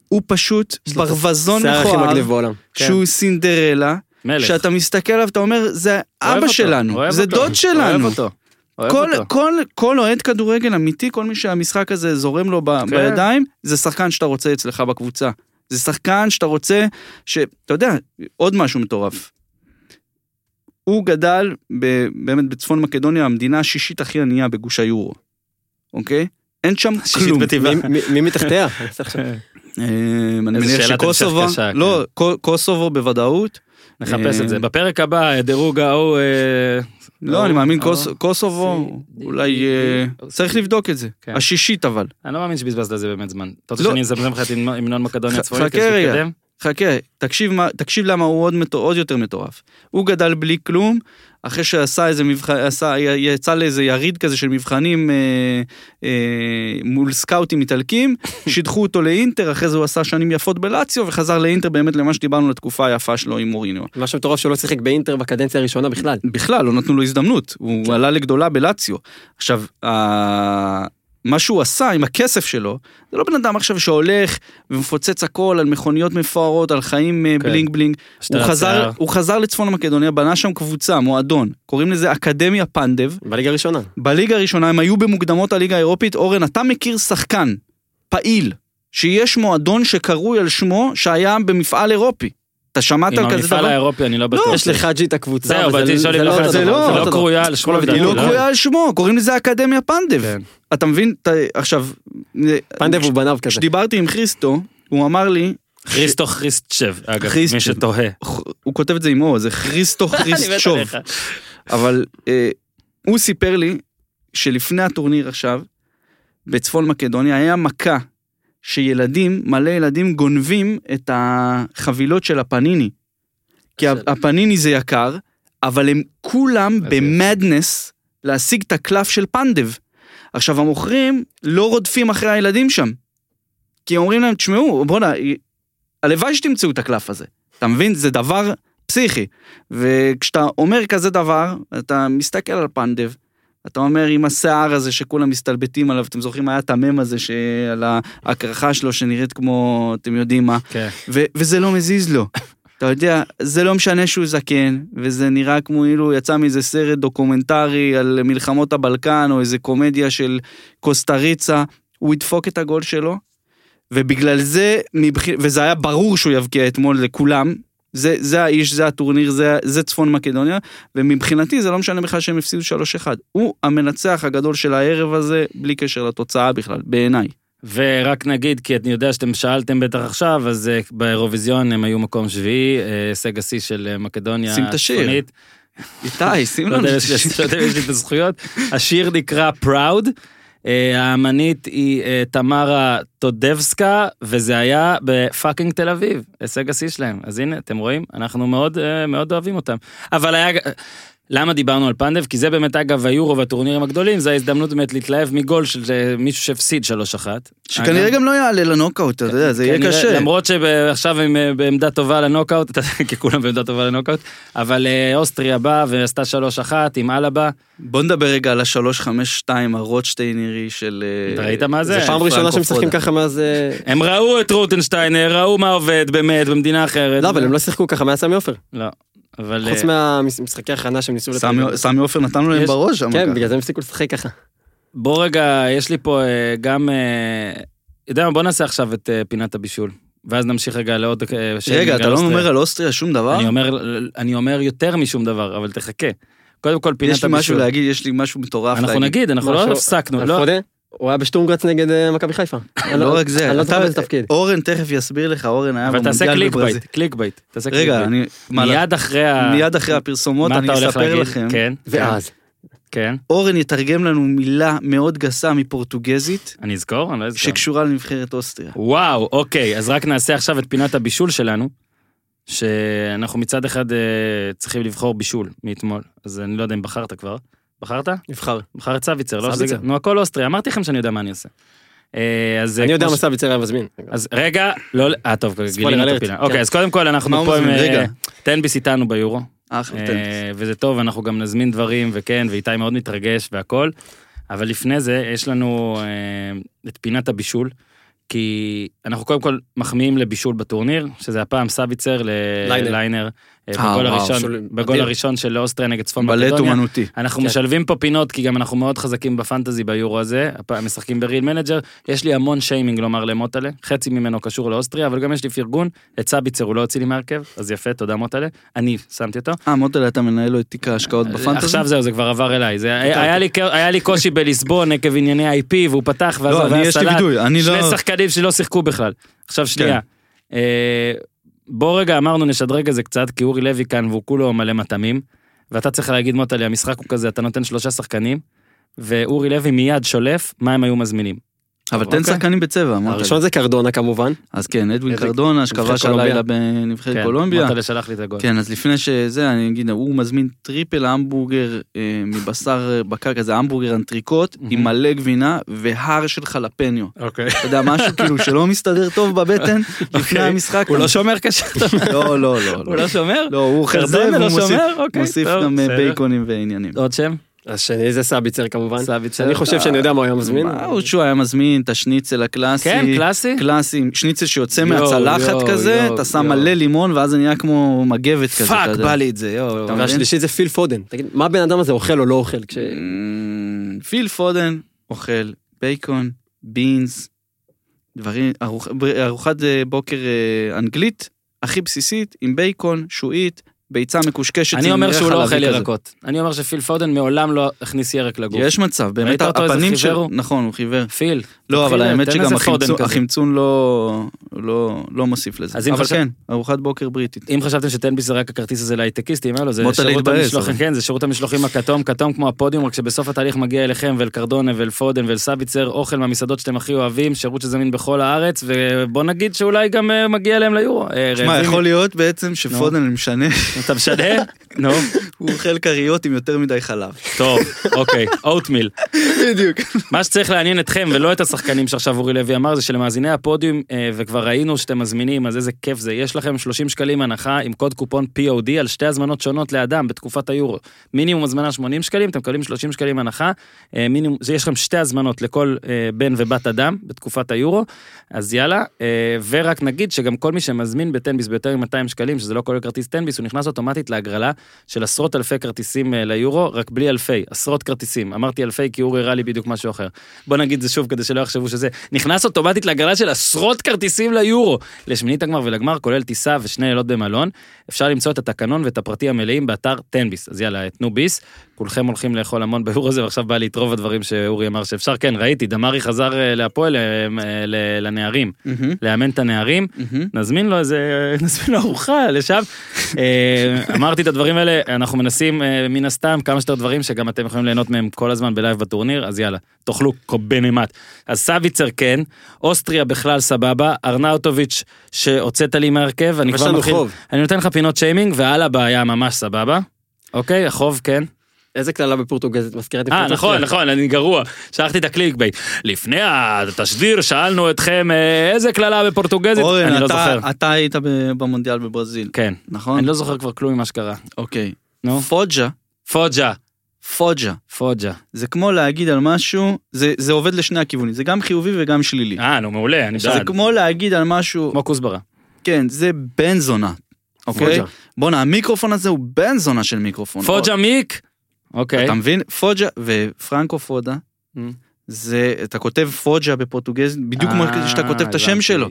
[SPEAKER 3] הוא פשוט
[SPEAKER 2] לו את
[SPEAKER 3] ברווזון
[SPEAKER 2] שיער הכי
[SPEAKER 3] מכוער,
[SPEAKER 2] מגניב בעולם.
[SPEAKER 1] כן.
[SPEAKER 3] שהוא סינדרלה,
[SPEAKER 1] מלך.
[SPEAKER 3] שאתה מסתכל עליו, אתה אומר, זה
[SPEAKER 1] אוהב
[SPEAKER 3] אבא
[SPEAKER 1] אותו,
[SPEAKER 3] שלנו,
[SPEAKER 1] אוהב
[SPEAKER 3] זה
[SPEAKER 1] אותו,
[SPEAKER 3] דוד
[SPEAKER 1] אוהב
[SPEAKER 3] שלנו.
[SPEAKER 1] אותו. אוהב
[SPEAKER 3] כל-
[SPEAKER 1] אותו.
[SPEAKER 3] כל- כל אוהד כדורגל אמיתי, כל מי שהמשחק הזה זורם לו ב-
[SPEAKER 1] כן.
[SPEAKER 3] בידיים, זה שחקן שאתה רוצה אצלך בקבוצה. זה שחקן שאתה רוצה, ש- אתה יודע, עוד משהו מטורף. הוא גדל ב- באמת בצפון מקדוניה, המדינה השישית הכי ענייה בגוש היורו, אוקיי? אין שם כלום.
[SPEAKER 1] בטבעה.
[SPEAKER 2] מי- מי- מי מתחתיה?
[SPEAKER 3] אה, אני
[SPEAKER 1] איזה
[SPEAKER 3] מניח
[SPEAKER 1] שאלת המשך
[SPEAKER 3] שקוסובו,
[SPEAKER 1] קשה, כן.
[SPEAKER 3] לא, קו- קוסובו בוודאות,
[SPEAKER 1] נחפש את זה.
[SPEAKER 3] אה,
[SPEAKER 1] בפרק הבא, דירוג ההוא... אה,
[SPEAKER 3] לא,
[SPEAKER 1] או-
[SPEAKER 3] אני מאמין
[SPEAKER 1] או-
[SPEAKER 3] קוס- קוסובו,
[SPEAKER 1] סי-
[SPEAKER 3] אולי...
[SPEAKER 1] די-
[SPEAKER 3] אה,
[SPEAKER 1] די-
[SPEAKER 3] צריך לבדוק את זה.
[SPEAKER 1] כן.
[SPEAKER 3] השישית אבל.
[SPEAKER 1] אני לא מאמין שבזבזת על זה באמת זמן. אתה רוצה
[SPEAKER 3] לא.
[SPEAKER 1] שאני אזמזם לך את המנון- המנון מקדוניה
[SPEAKER 3] ח-
[SPEAKER 1] הצפונית
[SPEAKER 3] חכה
[SPEAKER 1] כדי
[SPEAKER 3] רגע.
[SPEAKER 1] שתתקדם?
[SPEAKER 3] חכה, תקשיב מה- תקשיב למה הוא עוד מטור- עוד יותר מטורף. הוא גדל בלי כלום, אחרי שעשה איזה מבחן, יצא לאיזה יריד כזה של מבחנים אה, אה, מול סקאוטים איטלקים, שידחו אותו לאינטר, אחרי זה הוא עשה שנים יפות בלציו, וחזר לאינטר באמת למה שדיברנו לתקופה היפה שלו עם מוריניו.
[SPEAKER 2] מה שמטורף שהוא לא שיחק באינטר בקדנציה הראשונה בכלל.
[SPEAKER 1] כן.
[SPEAKER 3] בכלל, לא נתנו לו הזדמנות, הוא עלה לגדולה בלציו. עכשיו, ה- מה שהוא עשה עם הכסף שלו, זה לא בן אדם עכשיו שהולך ומפוצץ הכל על מכוניות מפוארות, על חיים אה,
[SPEAKER 1] כן.
[SPEAKER 3] בלינג בלינג. הוא
[SPEAKER 1] שטר
[SPEAKER 3] חזר,
[SPEAKER 1] השיער.
[SPEAKER 3] הוא חזר לצפון מקדוניה, בנה שם קבוצה, מועדון, קוראים לזה אקדמיה פנדב.
[SPEAKER 2] בליגה הראשונה.
[SPEAKER 3] בליגה הראשונה הם היו במוקדמות הליגה האירופית. אורן, אתה מכיר שחקן, פעיל, שיש מועדון שקרוי על שמו, שהיה במפעל אירופי. אתה שמעת
[SPEAKER 1] עם
[SPEAKER 3] על כזה
[SPEAKER 1] המפעל
[SPEAKER 3] דבר?
[SPEAKER 1] האירופי, אני לא בטוח.
[SPEAKER 2] יש לחאג'י את הקבוצה,
[SPEAKER 1] זהו,
[SPEAKER 2] אבל
[SPEAKER 1] באתי לשאול אם לכן
[SPEAKER 2] אותו
[SPEAKER 1] זה
[SPEAKER 2] דבר,
[SPEAKER 3] לא,
[SPEAKER 1] לא,
[SPEAKER 2] אותו
[SPEAKER 1] זה לא
[SPEAKER 2] דבר.
[SPEAKER 1] קרויה על שמו,
[SPEAKER 2] כל הבדל,
[SPEAKER 3] היא לא
[SPEAKER 1] לדעתי,
[SPEAKER 3] קרויה על שמו, קוראים לזה אקדמיה פנדב.
[SPEAKER 1] כן.
[SPEAKER 3] אתה מבין? אתה- עכשיו, אה,
[SPEAKER 2] פנדב הוא בניו כזה.
[SPEAKER 3] כשדיברתי עם חריסטו, הוא אמר לי,
[SPEAKER 1] חריסטו חריסטשב, אגב,
[SPEAKER 3] חריסטשב.
[SPEAKER 1] מי שתוהה.
[SPEAKER 3] הוא כותב את זה עם אור, זה חריסטו חריסטשוב. אבל אה, הוא סיפר לי שלפני הטורניר עכשיו, בצפון מקדוניה, היה מכה שילדים, מלא ילדים גונבים את החבילות של הפניני. כי
[SPEAKER 2] של-
[SPEAKER 3] הפניני זה יקר, אבל הם כולם
[SPEAKER 1] אז
[SPEAKER 3] במדנס להשיג את הקלף של פנדב. עכשיו המוכרים לא רודפים אחרי הילדים שם. כי אומרים להם, תשמעו, בואנה, הלוואי שתמצאו את הקלף הזה. אתה מבין? זה דבר פסיכי. וכשאתה אומר כזה דבר, אתה מסתכל על פנדב, אתה אומר עם השיער הזה שכולם מסתלבטים עליו, אתם זוכרים היה את המם הזה שעל ההקרחה שלו שנראית כמו, אתם יודעים מה,
[SPEAKER 1] כן.
[SPEAKER 3] ו- וזה לא מזיז לו. אתה יודע, זה לא משנה שהוא זקן, וזה נראה כמו אילו הוא יצא מאיזה סרט דוקומנטרי על מלחמות הבלקן, או איזה קומדיה של קוסטה ריצה, הוא ידפוק את הגול שלו, ובגלל זה, מבח... וזה היה ברור שהוא יבקיע אתמול לכולם, זה, זה האיש, זה הטורניר, זה, זה צפון מקדוניה, ומבחינתי זה לא משנה בכלל שהם הפסידו 3-1. הוא המנצח הגדול של הערב הזה, בלי קשר לתוצאה בכלל, בעיניי.
[SPEAKER 1] ורק נגיד, כי אני יודע שאתם שאלתם בטח עכשיו, אז אה, באירוויזיון הם היו מקום שביעי, אה, הישג השיא של אה, מקדוניה.
[SPEAKER 3] שים את השיר.
[SPEAKER 1] הצפונית.
[SPEAKER 3] איתי, שים
[SPEAKER 1] לא
[SPEAKER 3] לנו.
[SPEAKER 1] יודע אם יש לי- לא יודע אם יש לי את הזכויות. השיר נקרא פראוד. האמנית היא אה, תמרה טודבסקה, וזה היה בפאקינג תל אביב, הישג השיא שלהם. אז הנה, אתם רואים? אנחנו מאוד אה, מאוד אוהבים אותם. אבל היה... ג- למה דיברנו על פנדב? כי זה באמת, אגב, היורו והטורנירים הגדולים, זו ההזדמנות באמת להתלהב מגול של אה, מישהו שהפסיד 3-1.
[SPEAKER 3] שכנראה
[SPEAKER 1] אגב, כן,
[SPEAKER 3] גם לא יעלה לנוקאוט, אתה יודע, זה יהיה
[SPEAKER 1] כנראה,
[SPEAKER 3] קשה.
[SPEAKER 1] למרות שעכשיו הם אה, בעמדה טובה לנוקאוט, אתה יודע, כי כולם בעמדה טובה לנוקאוט, אבל אה, אוסטריה באה ועשתה 3-1 עם אלבה.
[SPEAKER 3] בוא נדבר רגע על השלוש חמש שתיים הרוטשטיינרי של... אה,
[SPEAKER 1] אתה ראית מה זה?
[SPEAKER 2] זה פעם
[SPEAKER 3] פרנקו
[SPEAKER 2] ראשונה שהם משחקים
[SPEAKER 3] פרודה.
[SPEAKER 2] ככה מאז... אה,
[SPEAKER 1] הם ראו את רוטנשטיינר, ראו מה עובד באמת במדינה אחרת.
[SPEAKER 2] לא, אבל הם לא שיחקו ככה מאז סמי עופר.
[SPEAKER 1] לא, אבל...
[SPEAKER 2] חוץ
[SPEAKER 1] אה,
[SPEAKER 2] מהמשחקי הכנה שהם ניסו
[SPEAKER 3] סמי- סמי עופר נתנו להם
[SPEAKER 1] יש-
[SPEAKER 3] בראש שם.
[SPEAKER 2] כן,
[SPEAKER 3] ככה.
[SPEAKER 2] בגלל זה הם הפסיקו לשחק ככה.
[SPEAKER 1] בוא רגע, יש לי פה אה, גם... אה, יודע מה, בוא נעשה עכשיו את אה, פינת הבישול. ואז נמשיך רגע לעוד... אה, שיימינג
[SPEAKER 3] רגע,
[SPEAKER 1] על
[SPEAKER 3] אתה לא
[SPEAKER 1] אוסטריה.
[SPEAKER 3] אומר על אוסטריה שום דבר?
[SPEAKER 1] אני אומר- אני אומר יותר משום דבר, אבל תחכה. קודם כל, פינת
[SPEAKER 3] יש לי משהו
[SPEAKER 1] הבישול.
[SPEAKER 3] להגיד, יש לי משהו מטורף
[SPEAKER 1] אנחנו
[SPEAKER 3] להגיד.
[SPEAKER 1] נגיד, אנחנו
[SPEAKER 2] משהו-
[SPEAKER 1] לא הפסקנו. לא-
[SPEAKER 2] פרודה, הוא היה בשטורמגרץ נגד אה, מכבי חיפה. אני
[SPEAKER 3] לא רק זה,
[SPEAKER 2] אני לא
[SPEAKER 3] אתה-
[SPEAKER 2] זוכר איזה תפקיד.
[SPEAKER 3] אורן תכף יסביר לך, אורן היה
[SPEAKER 1] אבל תעשה
[SPEAKER 3] במונדיאל
[SPEAKER 1] קליק
[SPEAKER 3] בברזיל.
[SPEAKER 1] בייט, קליק בייט. תעשה קליק
[SPEAKER 3] רגע,
[SPEAKER 1] בייט.
[SPEAKER 3] אני... מה,
[SPEAKER 1] מיד אחרי ה...
[SPEAKER 3] מיד אחרי הפרסומות
[SPEAKER 1] מה
[SPEAKER 3] אני
[SPEAKER 1] אתה הולך
[SPEAKER 3] אספר
[SPEAKER 1] להגיד?
[SPEAKER 3] לכם.
[SPEAKER 1] כן,
[SPEAKER 2] ואז.
[SPEAKER 1] כן.
[SPEAKER 3] אורן יתרגם לנו מילה מאוד גסה מפורטוגזית,
[SPEAKER 1] אני אזכור? אני לא אזכור.
[SPEAKER 3] שקשורה לנבחרת אוסטריה.
[SPEAKER 1] וואו, אוקיי, אז רק נעשה עכשיו את פינת הבישול שלנו, שאנחנו מצד אחד אה, צריכים לבחור בישול מאתמול, אז אני לא יודע אם בחרת כבר. בחרת?
[SPEAKER 2] נבחר.
[SPEAKER 1] בחר את סוויצר, לא?
[SPEAKER 2] סוויצר.
[SPEAKER 1] שזה- נו, הכל אוסטרי, אמרתי לכם שאני יודע מה אני עושה. אה, אז... אה,
[SPEAKER 2] אני יודע
[SPEAKER 1] כמו
[SPEAKER 2] מה
[SPEAKER 1] ש- אוקיי.
[SPEAKER 2] סבי צעיר היה מזמין.
[SPEAKER 1] אז רגע, לא... אה, טוב, גילינו את
[SPEAKER 2] alert.
[SPEAKER 1] הפינה.
[SPEAKER 2] כן.
[SPEAKER 1] אוקיי, אז קודם כל
[SPEAKER 3] מה
[SPEAKER 1] אנחנו
[SPEAKER 3] הוא
[SPEAKER 1] פה עם...
[SPEAKER 3] מזמין?
[SPEAKER 1] אה,
[SPEAKER 3] רגע.
[SPEAKER 1] תן ביס איתנו ביורו.
[SPEAKER 3] אחלה, תן.
[SPEAKER 1] אה, וזה טוב, אנחנו גם נזמין דברים, וכן, ואיתי מאוד מתרגש והכל. אבל לפני זה, יש לנו אה, את פינת הבישול, כי אנחנו קודם כל מחמיאים לבישול בטורניר, שזה הפעם סביצר
[SPEAKER 2] ליינר.
[SPEAKER 1] לליינר, אה,
[SPEAKER 3] אה,
[SPEAKER 1] בגול
[SPEAKER 3] וואו,
[SPEAKER 1] הראשון,
[SPEAKER 2] שול-
[SPEAKER 1] בגול
[SPEAKER 2] אדיר.
[SPEAKER 1] הראשון של אוסטריה נגד צפון
[SPEAKER 3] בלט
[SPEAKER 1] מקדוניה.
[SPEAKER 3] אומנותי.
[SPEAKER 1] אנחנו
[SPEAKER 2] כן.
[SPEAKER 1] משלבים פה פינות, כי גם אנחנו מאוד חזקים בפנטזי ביורו הזה, הפעם משחקים בריל מנג'ר, יש לי המון שיימינג לומר למוטלה, חצי ממנו קשור לאוסטריה, אבל גם יש לי פרגון, את סביצר הוא לא הוציא לי מהרכב, אז יפה, תודה מוטלה, אני שמתי אותו.
[SPEAKER 3] אה, מוטל, אתה מנהל לו את תיק ההשקעות בפנטזי?
[SPEAKER 1] אה, עכשיו זהו, זה כבר עבר אליי. זה היה- היה לי- היה לי קושי בליסבון עקב ענייני IP, והוא פתח ואז
[SPEAKER 3] לא,
[SPEAKER 1] עבר
[SPEAKER 3] אני יש לי
[SPEAKER 1] סלט.
[SPEAKER 3] וידוי, אני
[SPEAKER 1] שני
[SPEAKER 3] לא... כן.
[SPEAKER 1] שחקנים שלא שיחקו בכלל. עכשיו שנייה. אה, בוא רגע, אמרנו נשדרג את זה קצת, כי אורי לוי כאן והוא כולו מלא מטעמים, ואתה צריך להגיד מוטלי, המשחק הוא כזה, אתה נותן שלושה שחקנים, ואורי לוי מיד שולף מה הם היו מזמינים.
[SPEAKER 3] אבל תן
[SPEAKER 1] אוקיי.
[SPEAKER 3] שחקנים בצבע, מוטל.
[SPEAKER 2] הראשון זה קרדונה כמובן.
[SPEAKER 3] אז כן, אדווין
[SPEAKER 2] איזה-
[SPEAKER 3] קרדונה, שכבש
[SPEAKER 2] נבחרת
[SPEAKER 3] הלילה בנבחרת
[SPEAKER 1] כן,
[SPEAKER 3] קולומביה.
[SPEAKER 1] מוטלי שלח לי את הגול.
[SPEAKER 3] כן, אז לפני שזה, אני אגיד, הוא מזמין טריפל המבורגר אה, מבשר אה, בקר, כזה המבורגר אנטריקוט, עם מלא גבינה והר של חלפניו.
[SPEAKER 1] אוקיי.
[SPEAKER 3] אתה יודע, משהו כאילו שלא מסתדר טוב בבטן לפני
[SPEAKER 1] אוקיי.
[SPEAKER 3] המשחק.
[SPEAKER 1] הוא לא שומר קשה,
[SPEAKER 3] לא, לא, לא.
[SPEAKER 1] הוא לא שומר?
[SPEAKER 3] לא, הוא אוכל זה,
[SPEAKER 1] קרדונה לא
[SPEAKER 3] והוא מוסיף-
[SPEAKER 1] שומר? אוקיי,
[SPEAKER 3] מוסיף
[SPEAKER 1] טוב,
[SPEAKER 3] גם אה,
[SPEAKER 1] בסדר.
[SPEAKER 3] בייקונים ועניינים.
[SPEAKER 1] עוד שם?
[SPEAKER 2] השני זה סביצר כמובן.
[SPEAKER 1] סביצר.
[SPEAKER 2] אני חושב שאני יודע מה הוא היה מזמין.
[SPEAKER 3] מה, הוא שהוא היה מזמין את השניצל הקלאסי.
[SPEAKER 1] כן, קלאסי?
[SPEAKER 3] קלאסי, שניצל שיוצא
[SPEAKER 1] יואו, יואו,
[SPEAKER 3] מהצלחת כזה,
[SPEAKER 1] יואו,
[SPEAKER 3] אתה שם
[SPEAKER 1] יואו.
[SPEAKER 3] מלא לימון, ואז זה נהיה כמו מגבת כזה.
[SPEAKER 1] פאק,
[SPEAKER 3] אתה יודע.
[SPEAKER 1] בא לי את זה, יואו.
[SPEAKER 3] אתה מבין?
[SPEAKER 2] והשלישי זה פיל פודן. תגיד, מה הבן אדם הזה אוכל או לא אוכל? כש-
[SPEAKER 3] Mm, פיל פודן אוכל בייקון, בינס, דברים, ארוח- בר- ארוחת אה, בוקר אה, אנגלית, הכי בסיסית, עם בייקון, שועית, ביצה מקושקשת.
[SPEAKER 1] אני
[SPEAKER 3] עם
[SPEAKER 1] אומר
[SPEAKER 3] ריח
[SPEAKER 1] שהוא לא
[SPEAKER 3] חלבי
[SPEAKER 1] אוכל
[SPEAKER 3] כזה.
[SPEAKER 1] ירקות. אני אומר שפיל פודן מעולם לא הכניס ירק לגוף.
[SPEAKER 3] יש מצב, באמת,
[SPEAKER 1] ראית אותו איזה
[SPEAKER 3] הפנים
[SPEAKER 1] חיוור
[SPEAKER 3] שלו,
[SPEAKER 1] הוא?
[SPEAKER 3] נכון, הוא חיוור.
[SPEAKER 1] פיל.
[SPEAKER 3] לא, אבל
[SPEAKER 1] תתחיל,
[SPEAKER 3] האמת
[SPEAKER 1] תן
[SPEAKER 3] שגם
[SPEAKER 1] איזה
[SPEAKER 3] החמצון-
[SPEAKER 1] פודן כזה.
[SPEAKER 3] החמצון לא, לא, לא מוסיף לזה.
[SPEAKER 1] אז אם כן,
[SPEAKER 3] אבל
[SPEAKER 1] חשב-
[SPEAKER 3] כן, ארוחת בוקר בריטית.
[SPEAKER 1] אם חשבתם שטנביס זה רק הכרטיס הזה להייטקיסטים, היה לו, זה
[SPEAKER 3] מוטה
[SPEAKER 1] שירות
[SPEAKER 3] להתבאס,
[SPEAKER 1] המשלוחים,
[SPEAKER 3] אבל.
[SPEAKER 1] כן, זה שירות המשלוחים הכתום, כתום כמו הפודיום, רק שבסוף התהליך מגיע אליכם ואל קרדונה ואל פודן ואל סביצר, אוכל מהמסעדות שאתם הכי אוהבים, שירות שזמין בכל הארץ, ובוא נגיד שאולי גם אה, מגיע אליהם ליורו. אה,
[SPEAKER 3] תשמע,
[SPEAKER 1] רעבים.
[SPEAKER 3] יכול להיות בעצם שפודן משנה,
[SPEAKER 1] אתה משנה? נו,
[SPEAKER 3] הוא אוכל כריות עם יותר מדי חלב.
[SPEAKER 1] טוב, אוקיי, אוטמיל.
[SPEAKER 3] בדיוק.
[SPEAKER 1] מה שצריך לעניין אתכם ולא את השחקנים שעכשיו אורי לוי אמר זה שלמאזיני הפודיום אה, וכבר ראינו שאתם מזמינים אז איזה כיף זה יש לכם 30 שקלים הנחה עם קוד קופון POD על שתי הזמנות שונות לאדם בתקופת היורו מינימום הזמנה 80 שקלים אתם מקבלים 30 שקלים הנחה אה, מינימום זה יש לכם שתי הזמנות לכל אה, בן ובת אדם בתקופת היורו אז יאללה אה, ורק נגיד שגם כל מי שמזמין בטנביס ביותר מ-200 שקלים שזה לא כולל כרטיס טנביס הוא נכנס אוטומטית להגרלה של עשרות אלפי כרטיסים אה, ליורו, רק בלי אלפי, עשרות כרטיסים. אמרתי אלפי כי אורי הראה לי בדיוק משהו אחר. בוא נגיד זה שוב כדי שלא יחשבו שזה. נכנס אוטומטית להגרלה של עשרות כרטיסים ליורו, לשמינית הגמר ולגמר, כולל טיסה ושני לילות במלון. אפשר למצוא את התקנון ואת הפרטים המלאים באתר תנביס. אז יאללה, תנו ביס. כולכם הולכים לאכול המון ביורו הזה, ועכשיו בא לי את רוב הדברים שאורי אמר שאפשר. כן, ראיתי, דמרי חזר אה, להפועל, אה, אה, ל- לנערים, לאמן את הנערים. נזמין לו איזה, נזמין לו ארוחה לשם. אה, אמרתי את הדברים האלה, אנחנו מנסים אה, מן הסתם כמה שיותר דברים שגם אתם יכולים ליהנות מהם כל הזמן בלייב בטורניר, אז יאללה, תאכלו קובנמט. אז סביצר כן, אוסטריה בכלל סבבה, ארנאוטוביץ' שהוצאת לי מהרכב, אני
[SPEAKER 2] אבל
[SPEAKER 1] כבר
[SPEAKER 2] יש לנו
[SPEAKER 1] מתחיל,
[SPEAKER 2] חוב.
[SPEAKER 1] אני נותן לך פינות שיימינג, ועל בעיה ממש סבבה. אוקיי, החוב כן.
[SPEAKER 2] איזה קללה בפורטוגזית מזכירת לי
[SPEAKER 1] אה,
[SPEAKER 2] פורטוגזית.
[SPEAKER 1] נכון, נכון, אני גרוע. שלחתי את הקליק בייט. לפני התשדיר שאלנו אתכם אה, איזה קללה בפורטוגזית, אני
[SPEAKER 3] אורן,
[SPEAKER 1] לא
[SPEAKER 3] אתה-
[SPEAKER 1] זוכר.
[SPEAKER 3] אתה היית ב- במונדיאל בברזיל,
[SPEAKER 1] כן.
[SPEAKER 3] נכון?
[SPEAKER 1] אני לא זוכר כבר כלום ממה שקרה.
[SPEAKER 3] אוקיי.
[SPEAKER 1] נו.
[SPEAKER 3] פוג'ה,
[SPEAKER 1] פוג'ה,
[SPEAKER 3] פוג'ה.
[SPEAKER 1] פוג'ה.
[SPEAKER 3] זה כמו להגיד על משהו, זה זה עובד לשני הכיוונים, זה גם חיובי וגם שלילי.
[SPEAKER 1] אה, נו, מעולה, אני
[SPEAKER 3] זה
[SPEAKER 1] בעד.
[SPEAKER 3] כמו להגיד על משהו,
[SPEAKER 1] כמו כוסברה.
[SPEAKER 3] כן, זה בן זונה. אוקיי?
[SPEAKER 1] פוג'ה.
[SPEAKER 3] בואנה, המיקרופון הזה הוא בן זונה של מיקרופון.
[SPEAKER 1] פוג'ה מיק? אוקיי.
[SPEAKER 3] אתה מבין? פוג'ה ופרנקו פודה,
[SPEAKER 1] Mm.
[SPEAKER 3] זה, אתה כותב פוג'ה בפורטוגזית, בדיוק כמו
[SPEAKER 1] אה,
[SPEAKER 3] שאתה כותב את השם
[SPEAKER 1] הבנתי.
[SPEAKER 3] שלו.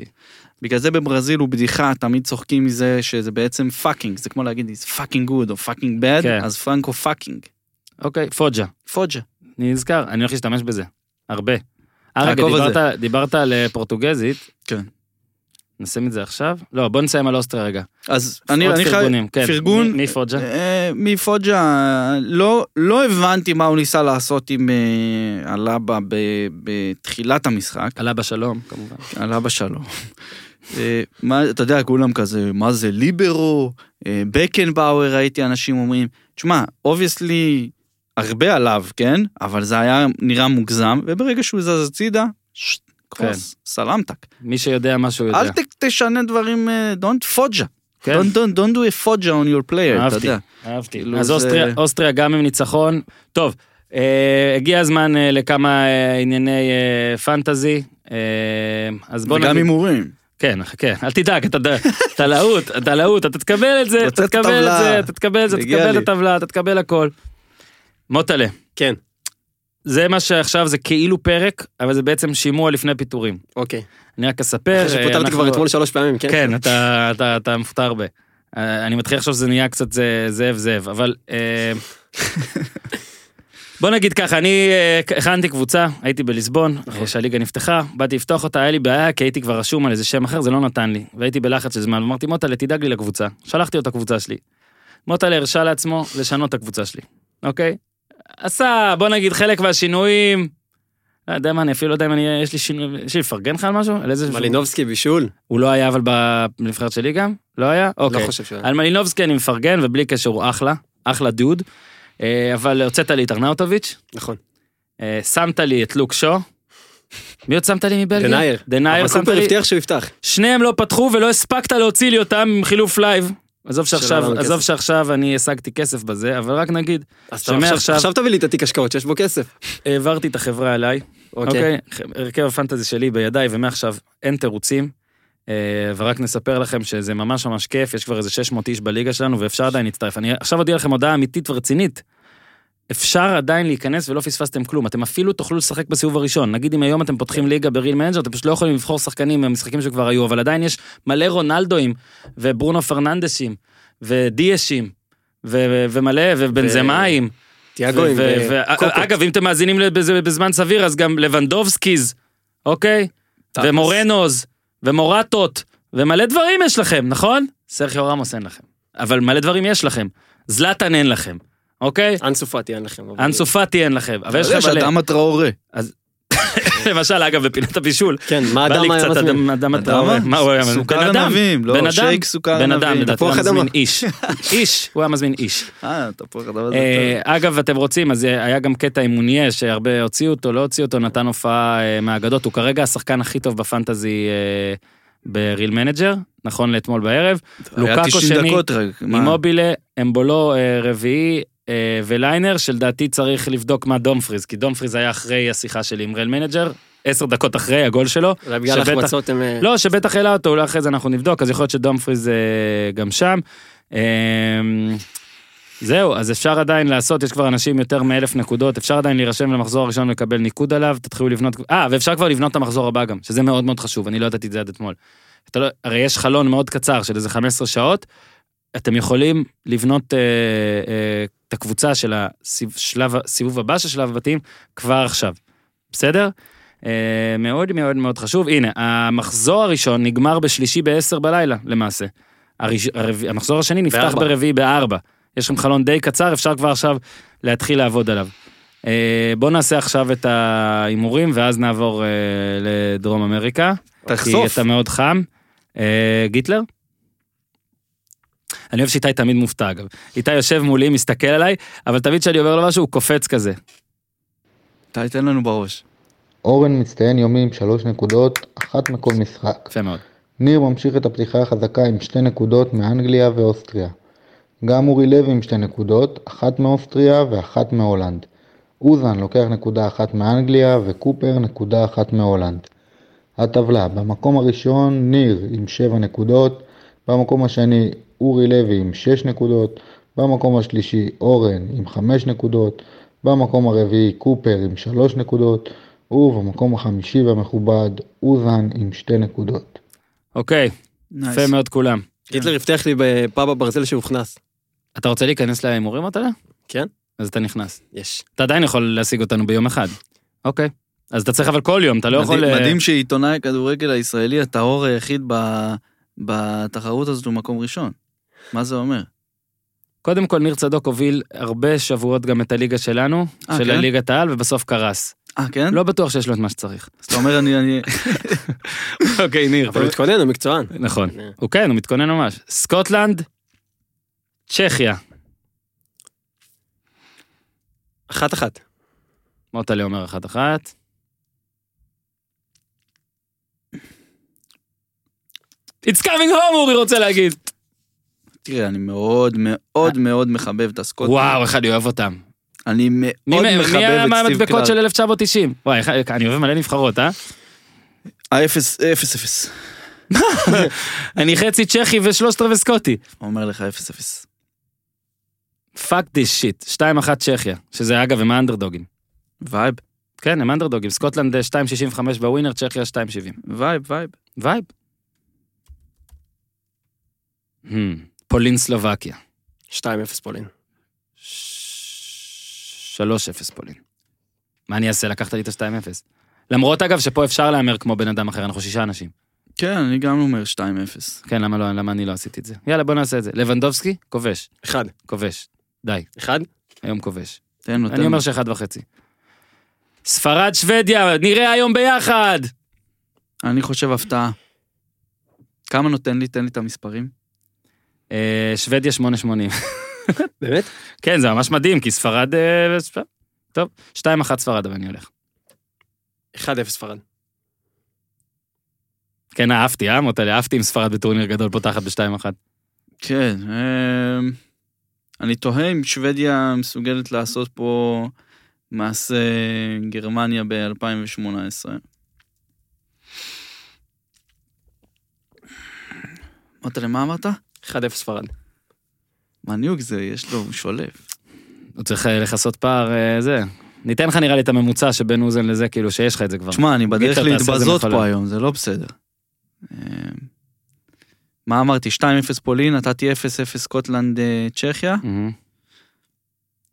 [SPEAKER 3] בגלל זה בברזיל הוא בדיחה, תמיד צוחקים מזה שזה בעצם פאקינג, זה כמו להגיד it's fucking good או fucking bad,
[SPEAKER 1] כן.
[SPEAKER 3] אז פרנקו פאקינג.
[SPEAKER 1] אוקיי, פוג'ה.
[SPEAKER 3] פוג'ה.
[SPEAKER 1] אני נזכר, אני הולך להשתמש בזה. הרבה. אה, רגע,
[SPEAKER 3] תעקוב על
[SPEAKER 1] דיברת- דיברת על אה, פורטוגזית.
[SPEAKER 3] כן.
[SPEAKER 1] נשים את זה עכשיו? לא, בוא נסיים על אוסטריה רגע.
[SPEAKER 3] אז אני
[SPEAKER 1] עוד
[SPEAKER 3] אני חייב...
[SPEAKER 1] פרגונים, כן.
[SPEAKER 3] פרגון.
[SPEAKER 1] מי- מי פוג'ה?
[SPEAKER 3] אה, מפוג'ה, לא, לא הבנתי מה הוא ניסה לעשות עם אה, הלבה ב- בתחילת המשחק,
[SPEAKER 1] עלה בשלום, כמובן.
[SPEAKER 3] הלבה שלו. אה, מה, אתה יודע, כולם כזה, מה זה ליברו, אה, בקנבאואר, ראיתי אנשים אומרים, תשמע, אובייסלי, הרבה עליו, כן? אבל זה היה נראה מוגזם, וברגע שהוא זז הצידה,
[SPEAKER 1] כן.
[SPEAKER 3] שט, קרוס, סלמתק.
[SPEAKER 1] מי שיודע מה שהוא יודע.
[SPEAKER 3] אל ת- תשנה דברים, אה, don't פוג'ה.
[SPEAKER 1] כן.
[SPEAKER 3] Don't, don't, don't do a פוג'ה on your player, אתה
[SPEAKER 1] אהבתי.
[SPEAKER 3] יודע.
[SPEAKER 1] אהבתי.
[SPEAKER 3] כאילו
[SPEAKER 1] אז
[SPEAKER 3] זה-
[SPEAKER 1] אוסטריה- אוסטריה גם עם ניצחון. טוב, אה, הגיע הזמן אה, לכמה אה, ענייני אה, פנטזי. אה, אז בוא
[SPEAKER 3] וגם
[SPEAKER 1] נגיד...
[SPEAKER 3] הימורים.
[SPEAKER 1] כן, חכה, אל תדאג, אתה ד- אתה להוט, אתה להוט, אתה תקבל את זה, אתה
[SPEAKER 3] הוצאת
[SPEAKER 1] תקבל את
[SPEAKER 3] טבלה.
[SPEAKER 1] זה, אתה תקבל את זה, אתה
[SPEAKER 3] מגיע
[SPEAKER 1] תקבל
[SPEAKER 3] לי.
[SPEAKER 1] את הטבלה, אתה תקבל הכל. מוטלה,
[SPEAKER 2] כן,
[SPEAKER 1] זה מה שעכשיו זה כאילו פרק, אבל זה בעצם שימוע לפני פיטורים.
[SPEAKER 2] אוקיי.
[SPEAKER 1] אני רק אספר...
[SPEAKER 2] אחרי
[SPEAKER 1] אה,
[SPEAKER 2] שפוטרתי כבר
[SPEAKER 1] אנחנו-
[SPEAKER 2] אתמול שלוש פעמים, כן?
[SPEAKER 1] כן, אתה, אתה, אתה מפוטר הרבה. אה, אני מתחיל לחשוב שזה נהיה קצת זה- זאב זאב, אבל... אה, בוא נגיד ככה, אני אה, הכנתי קבוצה, הייתי בליסבון,
[SPEAKER 2] נכון.
[SPEAKER 1] אחרי שהליגה נפתחה, באתי לפתוח אותה, היה לי בעיה, כי הייתי כבר רשום על איזה שם אחר, זה לא נתן לי. והייתי בלחץ של זמן, אמרתי, מוטלה, תדאג לי לקבוצה. שלחתי אותה קבוצה שלי. מוטלה הרשה לעצמו לשנות את הקבוצה שלי, אוקיי? עשה, בוא נגיד, חלק מהשינויים... לא יודע מה, אני אפילו לא יודע אם אני... יש לי שינוי... יש לי לפרגן לך על משהו? על איזה...
[SPEAKER 2] מלינובסקי בישול?
[SPEAKER 1] הוא לא היה אבל בנבחרת שלי גם? לא היה?
[SPEAKER 2] לא
[SPEAKER 1] אוקיי.
[SPEAKER 2] חושב שהיה.
[SPEAKER 1] על מלינובסקי אני מפרגן, ובלי קשר הוא אחלה, אחלה דוד. אה, אבל הוצאת לי את ארנאוטוביץ',
[SPEAKER 2] נכון.
[SPEAKER 1] אה, שמת לי את לוק שו. מי עוד שמת לי מבלגיה?
[SPEAKER 2] דנייר.
[SPEAKER 1] דנייר
[SPEAKER 2] אבל
[SPEAKER 1] שמת
[SPEAKER 2] קופר
[SPEAKER 1] לי.
[SPEAKER 2] הבטיח שהוא יפתח.
[SPEAKER 1] שניהם לא פתחו ולא הספקת להוציא לי אותם עם חילוף לייב. עזוב שעכשיו,
[SPEAKER 2] לנו
[SPEAKER 1] עזוב
[SPEAKER 2] כסף.
[SPEAKER 1] שעכשיו אני השגתי כסף בזה, אבל רק נגיד,
[SPEAKER 2] אז אתה
[SPEAKER 1] שמעכשיו-
[SPEAKER 2] עכשיו- עכשיו תביא לי את התיק השקעות שיש בו כסף.
[SPEAKER 1] העברתי את החברה אליי,
[SPEAKER 2] אוקיי.
[SPEAKER 1] אוקיי? הרכב הפנטזי שלי בידיי, ומעכשיו אין תירוצים. אה, ורק נספר לכם שזה ממש ממש כיף, יש כבר איזה 600 איש בליגה שלנו, ואפשר עדיין להצטרף. אני עכשיו אודיע לכם הודעה אמיתית ורצינית. אפשר עדיין להיכנס ולא פספסתם כלום, אתם אפילו תוכלו לשחק בסיבוב הראשון. נגיד אם היום אתם פותחים ליגה בריל מנג'ר, אתם פשוט לא יכולים לבחור שחקנים מהמשחקים שכבר היו, אבל עדיין יש מלא רונלדואים, וברונו פרננדשים, ודיאשים, ו- ו- ומלא, ובנזמאים.
[SPEAKER 2] תיאגוים
[SPEAKER 1] ו- ו- אה,
[SPEAKER 2] וקוקו.
[SPEAKER 1] ו- אגב, אם אתם מאזינים לזה בזמן סביר, אז גם לבנדובסקיז, אוקיי?
[SPEAKER 3] תכלס.
[SPEAKER 1] ומורנוז, ומורטות, ומלא דברים יש לכם, נכון? סרחיו רמוס אין לכם. אבל מלא דברים יש לכם. זלאטן אין לכם, אוקיי?
[SPEAKER 2] אנסו פאטי אין לכם. אבל-
[SPEAKER 1] אנסו פאטי אין לכם, אבל יש
[SPEAKER 3] אתה יודע
[SPEAKER 1] לכם מלא.
[SPEAKER 3] שאדם הטראורה.
[SPEAKER 1] למשל, אגב, בפינת הבישול.
[SPEAKER 2] כן, מה
[SPEAKER 1] בא לי
[SPEAKER 2] אדם היה
[SPEAKER 1] קצת
[SPEAKER 2] מזמין?
[SPEAKER 1] אדם אדם הטראורי. מה הוא היה מזמין?
[SPEAKER 3] סוכר
[SPEAKER 1] בן אדם.
[SPEAKER 3] ענבים, לא,
[SPEAKER 1] בן אדם.
[SPEAKER 3] שייק סוכר
[SPEAKER 1] בן אדם,
[SPEAKER 3] ענבים.
[SPEAKER 1] לדעתי, הוא היה
[SPEAKER 2] תפוח
[SPEAKER 1] מזמין
[SPEAKER 2] אדמה.
[SPEAKER 1] איש. איש, הוא היה מזמין איש.
[SPEAKER 3] אה, תפוח אדם הזה.
[SPEAKER 1] אה, אגב, אתם רוצים, אז היה גם קטע עם מוניה, שהרבה הוציאו אותו, לא הוציאו אותו, נתן הופעה אה, מהאגדות. הוא כרגע השחקן הכי טוב בפנטזי אה, בריל מנג'ר, נכון לאתמול בערב.
[SPEAKER 3] טוב. היה
[SPEAKER 1] לוקאקו
[SPEAKER 3] 90
[SPEAKER 1] שני,
[SPEAKER 3] דקות רק. מה?
[SPEAKER 1] אימובילה, אמבולו אה, רביעי אה, וליינר, שלדעתי צריך לבדוק מה דומפריז, כי דומפריז היה אחרי השיחה שלי עם ריל מנג'ר, עשר דקות אחרי הגול שלו.
[SPEAKER 2] אולי בגלל
[SPEAKER 1] שבטח-
[SPEAKER 2] ההחמצות הם... אה,
[SPEAKER 1] לא, שבטח העלה אותו, אולי אחרי זה אנחנו נבדוק, אז יכול להיות שדומפריז אה, גם שם. אה, זהו, אז אפשר עדיין לעשות, יש כבר אנשים יותר מאלף נקודות, אפשר עדיין להירשם למחזור הראשון ולקבל ניקוד עליו, תתחילו לבנות, אה, ואפשר כבר לבנות את המחזור הבא גם, שזה מאוד מאוד חשוב, אני לא ידעתי את זה עד אתמול. אתה לא, הרי יש חלון מאוד קצר של איזה 15 שעות, אתם יכולים לבנות אה, אה, את הקבוצה של הסיבוב הבא של שלב הבתים כבר עכשיו, בסדר? אה, מאוד מאוד מאוד חשוב. הנה, המחזור הראשון נגמר בשלישי ב-10 בלילה, למעשה. הראש, הרב, המחזור השני נפתח
[SPEAKER 2] בארבע.
[SPEAKER 1] ברביעי ב-4. יש לכם חלון די קצר, אפשר כבר עכשיו להתחיל לעבוד עליו. אה, בואו נעשה עכשיו את ההימורים, ואז נעבור אה, לדרום אמריקה. כי
[SPEAKER 3] תחשוף.
[SPEAKER 1] אתה מאוד חם. אה, גיטלר? אני אוהב שאיתי תמיד מופתע אגב. איתי יושב מולי, מסתכל עליי, אבל תמיד כשאני אומר לו משהו הוא קופץ כזה.
[SPEAKER 3] אתה תן לנו בראש.
[SPEAKER 5] אורן מצטיין יומי עם שלוש נקודות, אחת מכל משחק.
[SPEAKER 1] יפה מאוד.
[SPEAKER 5] ניר ממשיך את הפתיחה החזקה עם שתי נקודות מאנגליה ואוסטריה. גם אורי לוי עם שתי נקודות, אחת מאוסטריה ואחת מהולנד. אוזן לוקח נקודה אחת מאנגליה וקופר נקודה אחת מהולנד. הטבלה, במקום הראשון ניר עם 7 נקודות, במקום השני אורי לוי עם 6 נקודות, במקום השלישי אורן עם 5 נקודות, במקום הרביעי קופר עם 3 נקודות, ובמקום החמישי והמכובד אוזן עם 2 נקודות.
[SPEAKER 1] אוקיי,
[SPEAKER 3] נייס.
[SPEAKER 1] יפה מאוד כולם.
[SPEAKER 2] היטלר הבטיח לי בפאב הברזל שהוכנס. אתה
[SPEAKER 1] אתה רוצה להיכנס להימורים אתה יודע?
[SPEAKER 2] כן?
[SPEAKER 1] אז אתה נכנס.
[SPEAKER 2] יש.
[SPEAKER 1] אתה עדיין יכול להשיג אותנו ביום אחד. אוקיי. אז אתה צריך אבל כל יום, אתה לא
[SPEAKER 3] מדהים-
[SPEAKER 1] יכול... אה,
[SPEAKER 3] מדהים שעיתונאי הכדורגל הישראלי הטהור היחיד ב- בתחרות הזאת הוא מקום ראשון. מה זה אומר?
[SPEAKER 1] קודם כל, ניר צדוק הוביל הרבה שבועות גם את הליגה שלנו,
[SPEAKER 3] אה,
[SPEAKER 1] של
[SPEAKER 3] כן?
[SPEAKER 1] הליגת העל, ובסוף קרס.
[SPEAKER 3] אה, כן?
[SPEAKER 1] לא בטוח שיש לו את מה שצריך.
[SPEAKER 3] אז אתה אומר, אני... אני-
[SPEAKER 1] אוקיי, ניר.
[SPEAKER 2] אבל הוא מתכונן, הוא מקצוען.
[SPEAKER 1] נכון.
[SPEAKER 2] אה.
[SPEAKER 1] הוא כן, הוא מתכונן ממש. סקוטלנד, צ'כיה.
[SPEAKER 2] אחת אחת.
[SPEAKER 1] מוטלה אומר אחת-אחת. It's coming home, אורי רוצה להגיד.
[SPEAKER 3] תראה, אני מאוד מאוד מאוד מחבב את הסקוטים.
[SPEAKER 1] וואו, איך אני אוהב אותם.
[SPEAKER 3] אני מאוד
[SPEAKER 1] מי
[SPEAKER 3] מחבב
[SPEAKER 1] מה-
[SPEAKER 3] את
[SPEAKER 1] מי היה
[SPEAKER 3] סטיב
[SPEAKER 1] מהמדבקות
[SPEAKER 3] קלארק.
[SPEAKER 1] של 1990? וואי, איך- אני אוהב מלא נבחרות, אה?
[SPEAKER 3] אה, אפס, אפס, אפס.
[SPEAKER 1] אני חצי צ'כי ושלושת רבעי סקוטי.
[SPEAKER 3] הוא אומר לך אפס, אפס.
[SPEAKER 1] פאק דיס שיט, 2-1 צ'כיה, שזה אגב הם האנדרדוגים.
[SPEAKER 3] וייב,
[SPEAKER 1] כן, הם אנדרדוגים, סקוטלנד אה, 2.65 בווינר, צ'כיה 2.70.
[SPEAKER 3] וייב, וייב.
[SPEAKER 1] וייב. Hmm, פולין סלובקיה,
[SPEAKER 2] 2-0 פולין.
[SPEAKER 1] 3-0 פולין. מה אני אעשה? לקחת לי את ה-2-0. למרות אגב שפה אפשר להמר כמו בן אדם אחר, אנחנו שישה אנשים.
[SPEAKER 3] כן, אני גם אומר שתיים, אפס.
[SPEAKER 1] כן, למה לא, למה אני לא עשיתי את זה? יאללה, בוא נעשה את זה. לבנדובסקי, כובש,
[SPEAKER 2] אחד.
[SPEAKER 1] כובש. די,
[SPEAKER 2] אחד?
[SPEAKER 1] היום כובש.
[SPEAKER 3] תן לו, תן
[SPEAKER 1] אני אומר
[SPEAKER 3] לו.
[SPEAKER 1] שאחד וחצי. ספרד, שוודיה, נראה היום ביחד!
[SPEAKER 3] אני חושב הפתעה. כמה נותן לי? תן לי את המספרים.
[SPEAKER 1] אה, שוודיה 880.
[SPEAKER 2] באמת?
[SPEAKER 1] כן, זה ממש מדהים, כי ספרד... אה, ש- טוב, 2-1 ספרד, אבל אני הולך.
[SPEAKER 2] 1-0 ספרד.
[SPEAKER 1] כן, אהבתי, אה, מוטל? אהבתי עם ספרד בטורניר גדול פותחת ב-2-1.
[SPEAKER 3] כן, אמ, אני תוהה אם שוודיה מסוגלת לעשות פה מעשה גרמניה ב-2018. אמרת למה אמרת?
[SPEAKER 2] 1-0 ספרד.
[SPEAKER 3] מניוק זה, יש לו, הוא שולף.
[SPEAKER 1] הוא צריך אה, לכסות פער, אה, זה. ניתן לך נראה לי את הממוצע שבין אוזן לזה, כאילו שיש לך את זה כבר.
[SPEAKER 3] תשמע, אני בדרך
[SPEAKER 1] גיטר, תעשה את זה
[SPEAKER 3] להתבזות
[SPEAKER 1] מהחלון.
[SPEAKER 3] פה היום, זה לא בסדר. אמ, מה אמרתי? 2-0 פולין, נתתי 0-0 סקוטלנד אה, צ'כיה.
[SPEAKER 1] מהמם.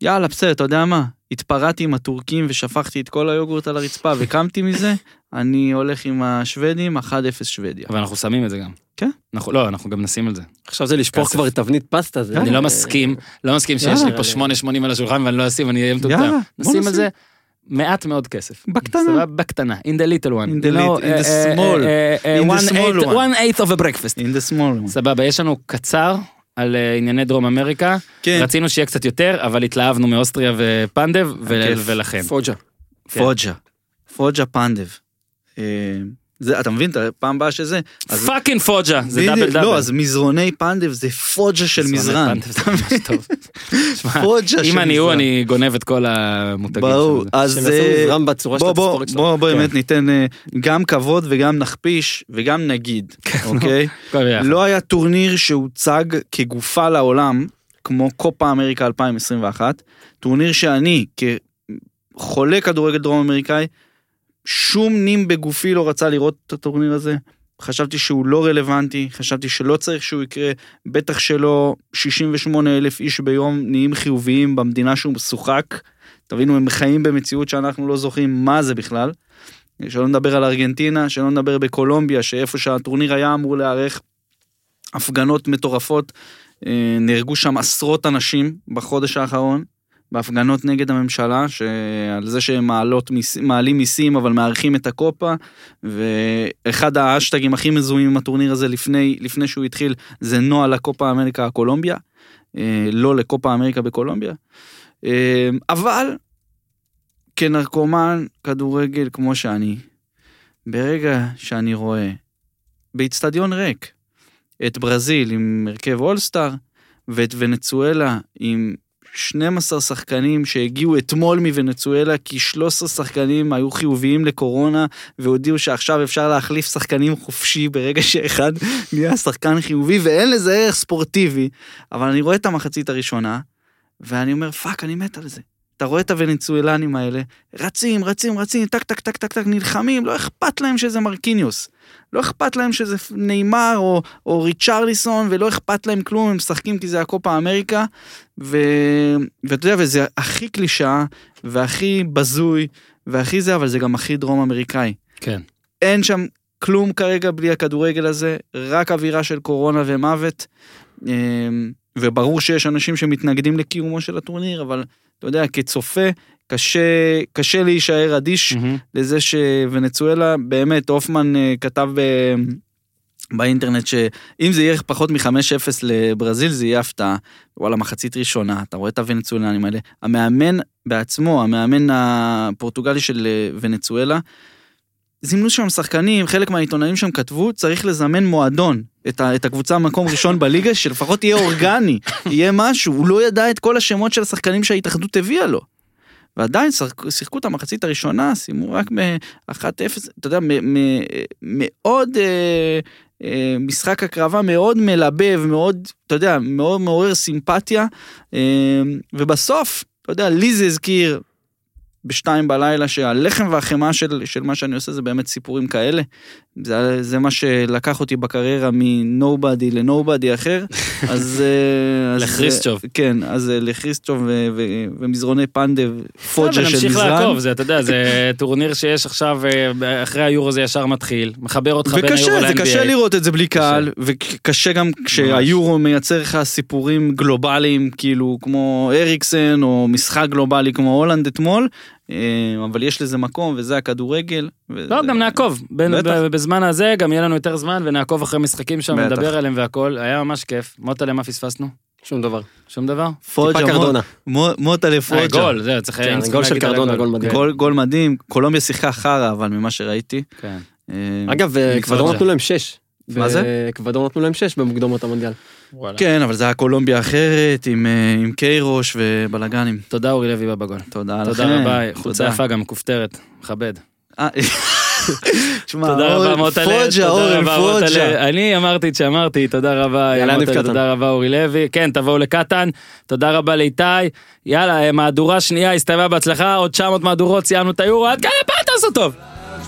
[SPEAKER 3] יאללה, בסדר, אתה יודע מה? התפרעתי עם הטורקים ושפכתי את כל היוגורט על הרצפה וקמתי מזה, אני הולך עם השוודים, 1-0 שוודיה.
[SPEAKER 1] אבל אנחנו שמים את זה גם.
[SPEAKER 3] כן?
[SPEAKER 1] אנחנו, לא, אנחנו גם נשים את זה.
[SPEAKER 2] עכשיו זה לשפוך
[SPEAKER 1] כסף.
[SPEAKER 2] כבר תבנית פסטה. זה-
[SPEAKER 1] אני
[SPEAKER 2] אה,
[SPEAKER 1] לא מסכים, לא מסכים שיש לי
[SPEAKER 2] יאללה.
[SPEAKER 1] פה 8.80 על השולחן ואני לא אשים, אני אהיה מטומטם.
[SPEAKER 3] יאללה, בוא
[SPEAKER 1] נשים
[SPEAKER 3] נשים.
[SPEAKER 1] על זה מעט מאוד כסף.
[SPEAKER 3] בקטנה.
[SPEAKER 1] סבבה? בקטנה. In the little one.
[SPEAKER 3] In the
[SPEAKER 1] You know,
[SPEAKER 3] little- in the
[SPEAKER 1] אה, אה,
[SPEAKER 3] small.
[SPEAKER 1] אה, אה,
[SPEAKER 3] In the
[SPEAKER 1] one
[SPEAKER 3] small
[SPEAKER 1] eighth-
[SPEAKER 3] one.
[SPEAKER 1] one eighth of a breakfast.
[SPEAKER 3] In the small one.
[SPEAKER 1] סבבה, יש לנו קצר על אה, ענייני דרום אמריקה.
[SPEAKER 3] כן,
[SPEAKER 1] רצינו שיהיה קצת יותר, אבל התלהבנו מאוסטריה ופנדב, ו-
[SPEAKER 3] הכיף.
[SPEAKER 1] ולכן.
[SPEAKER 2] פוג'ה.
[SPEAKER 3] פוג'ה. פוג'ה כן. פנדב. אה, זה, אתה מבין, אתה- פעם הבאה שזה. אז-
[SPEAKER 1] פאקינג פוג'ה, זה
[SPEAKER 3] בדיוק,
[SPEAKER 1] דאבל דאבל.
[SPEAKER 3] לא, אז מזרוני פנדב זה פוג'ה של
[SPEAKER 1] זמן
[SPEAKER 3] מזרן.
[SPEAKER 1] הפנדב, זה ממש טוב. שמע,
[SPEAKER 3] פוג'ה של
[SPEAKER 1] אם אני הוא,
[SPEAKER 3] מזרן.
[SPEAKER 1] אני גונב את כל המותגים
[SPEAKER 3] ברור,
[SPEAKER 1] של זה.
[SPEAKER 3] אז...
[SPEAKER 2] שהם
[SPEAKER 3] אה,
[SPEAKER 2] יעשו מוזרם בצורה של
[SPEAKER 3] בוא בוא
[SPEAKER 2] התספורת כן. שלו.
[SPEAKER 3] בוא באמת ניתן אה, גם כבוד וגם נכפיש וגם נגיד,
[SPEAKER 2] כן,
[SPEAKER 3] אוקיי?
[SPEAKER 1] הכל ביחד.
[SPEAKER 3] לא היה טורניר שהוצג כגופה לעולם, כמו קופה אמריקה 2021, טורניר שאני, כחולה כדורגל דרום אמריקאי, שום נים בגופי לא רצה לראות את הטורניר הזה. חשבתי שהוא לא רלוונטי, חשבתי שלא צריך שהוא יקרה, בטח שלא 68 אלף איש ביום נהיים חיוביים במדינה שהוא משוחק. תבינו, הם חיים במציאות שאנחנו לא זוכרים מה זה בכלל. שלא נדבר על ארגנטינה, שלא נדבר בקולומביה, שאיפה שהטורניר היה אמור להיערך, הפגנות מטורפות, אה, נהרגו שם עשרות אנשים בחודש האחרון, בהפגנות נגד הממשלה, שעל זה שהם מעלות, מיס- מעלים מיסים אבל מארחים את הקופה, ואחד האשטגים הכי מזוהים עם הטורניר הזה לפני, לפני שהוא התחיל, זה נוהל לקופה אמריקה הקולומביה, אה, לא לקופה אמריקה בקולומביה. אה, אבל כנרקומן כדורגל כמו שאני, ברגע שאני רואה באיצטדיון ריק את ברזיל עם הרכב אולסטאר ואת ונצואלה עם 12 שחקנים שהגיעו אתמול מוונצואלה כי 13 שחקנים היו חיוביים לקורונה והודיעו שעכשיו אפשר להחליף שחקנים חופשי ברגע שאחד נהיה שחקן חיובי ואין לזה ערך ספורטיבי אבל אני רואה את המחצית הראשונה ואני אומר פאק אני מת על זה. אתה רואה את הוונצואלנים האלה, רצים, רצים, רצים, טק, טק, טק, טק, טק, נלחמים, לא אכפת להם שזה מרקיניוס. לא אכפת להם שזה נאמר או, או ריצ'רליסון, ולא אכפת להם כלום, הם משחקים כי זה הקופה אמריקה. ו... ואתה יודע, וזה הכי קלישאה, והכי בזוי, והכי זה, אבל זה גם הכי דרום אמריקאי.
[SPEAKER 1] כן.
[SPEAKER 3] אין שם כלום כרגע בלי הכדורגל הזה, רק אווירה של קורונה ומוות. אמ, וברור שיש אנשים שמתנגדים לקיומו של הטורניר, אבל אתה יודע, כצופה, קשה, קשה להישאר אדיש
[SPEAKER 1] מהמם.
[SPEAKER 3] לזה שוונצואלה, באמת, הופמן אה, כתב ב- באינטרנט שאם זה יהיה פחות מ-5-0 לברזיל, זה יהיה הפתעה. וואלה, מחצית ראשונה, אתה רואה את הוונצואלנים האלה. המאמן בעצמו, המאמן הפורטוגלי של אה, ונצואלה, זימנו שם שחקנים, חלק מהעיתונאים שם כתבו, צריך לזמן מועדון, את, ה, את הקבוצה מקום ראשון בליגה, שלפחות יהיה אורגני, יהיה משהו, הוא לא ידע את כל השמות של השחקנים שההתאחדות הביאה לו. ועדיין שחק- שיחקו את המחצית הראשונה, סיימו רק מ-1-0, אתה יודע, מ- מ- מאוד אה, אה, משחק הקרבה, מאוד מלבב, מאוד, אתה יודע, מאוד מעורר סימפתיה, אה, ובסוף, אתה יודע, לי זה הזכיר בשתיים בלילה שהלחם והחמאה של, של מה שאני עושה זה באמת סיפורים כאלה. זה, זה מה שלקח אותי בקריירה מנובדי לנובדי אחר, אז... אה, אז-
[SPEAKER 1] לחריסטוב.
[SPEAKER 3] כן, אז אה, לחריסטוב ו- ו- ומזרוני פנדב, פוג'ה של
[SPEAKER 1] ונמשיך
[SPEAKER 3] מזרן.
[SPEAKER 1] לעקוב, זה, אתה יודע, זה טורניר שיש עכשיו, אה, אחרי היורו זה ישר מתחיל, מחבר אותך בין היורו
[SPEAKER 3] וקשה, זה
[SPEAKER 1] ל-NBA.
[SPEAKER 3] קשה לראות את זה בלי קהל, וקשה גם כשהיורו מייצר לך סיפורים גלובליים, כאילו כמו אריקסן, או משחק גלובלי כמו הולנד אתמול, אה, אבל יש לזה מקום, וזה הכדורגל.
[SPEAKER 1] לא,
[SPEAKER 3] וזה-
[SPEAKER 1] גם נעקוב. בין-
[SPEAKER 3] בטח.
[SPEAKER 1] ב- בזמן הזה גם יהיה לנו יותר זמן, ונעקוב אחרי משחקים שם,
[SPEAKER 3] בטח.
[SPEAKER 1] נדבר עליהם והכל. היה ממש כיף. מוטה, למה פספסנו?
[SPEAKER 2] שום דבר.
[SPEAKER 1] שום
[SPEAKER 3] אה,
[SPEAKER 1] דבר?
[SPEAKER 3] פוג'ה,
[SPEAKER 2] טיפה קרדונה.
[SPEAKER 3] מו- מוטה
[SPEAKER 1] אה,
[SPEAKER 3] לפוג'ה.
[SPEAKER 1] גול, זהו, צריך...
[SPEAKER 2] כן,
[SPEAKER 1] היינו צריכים
[SPEAKER 2] גול של
[SPEAKER 1] להגיד על
[SPEAKER 2] קרדונה, גול מדהים.
[SPEAKER 1] כן,
[SPEAKER 3] גול- גול מדהים, קולומביה שיחקה חרא, אבל ממה שראיתי.
[SPEAKER 1] כן.
[SPEAKER 3] אה,
[SPEAKER 2] אגב,
[SPEAKER 1] מקצוע
[SPEAKER 2] אקוודור
[SPEAKER 1] זה.
[SPEAKER 2] נתנו להם 6.
[SPEAKER 3] מה זה?
[SPEAKER 2] אקוודור נתנו להם 6 במוקדמות המונדיאל.
[SPEAKER 1] וואלה.
[SPEAKER 3] כן, אבל זה היה קולומביה אחרת, עם, אה, עם קיירוש ובלאגנים.
[SPEAKER 1] תודה אורי לוי בבגול.
[SPEAKER 3] תודה לכם.
[SPEAKER 1] תודה רבה, חולצה
[SPEAKER 3] תודה.
[SPEAKER 1] יפה גם, כופתרת, מכבד.
[SPEAKER 3] אה, תשמע,
[SPEAKER 1] תודה רבה
[SPEAKER 3] אורן
[SPEAKER 1] מוטלה,
[SPEAKER 3] פרוג'ה,
[SPEAKER 1] תודה
[SPEAKER 3] אורן
[SPEAKER 1] רבה, מוטלה.
[SPEAKER 3] פרוג'ה.
[SPEAKER 1] אני אמרתי את שאמרתי, תודה רבה
[SPEAKER 2] יאללה,
[SPEAKER 1] מוטלה,
[SPEAKER 2] עדיף קטן.
[SPEAKER 1] תודה רבה אורי לוי, כן תבואו לקטן, תודה רבה לאיתי, יאללה אה, מהדורה שנייה הסתיימה בהצלחה, עוד 900 מהדורות סיימנו את היורו, עד כאן הפעם תעשו טוב.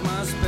[SPEAKER 4] much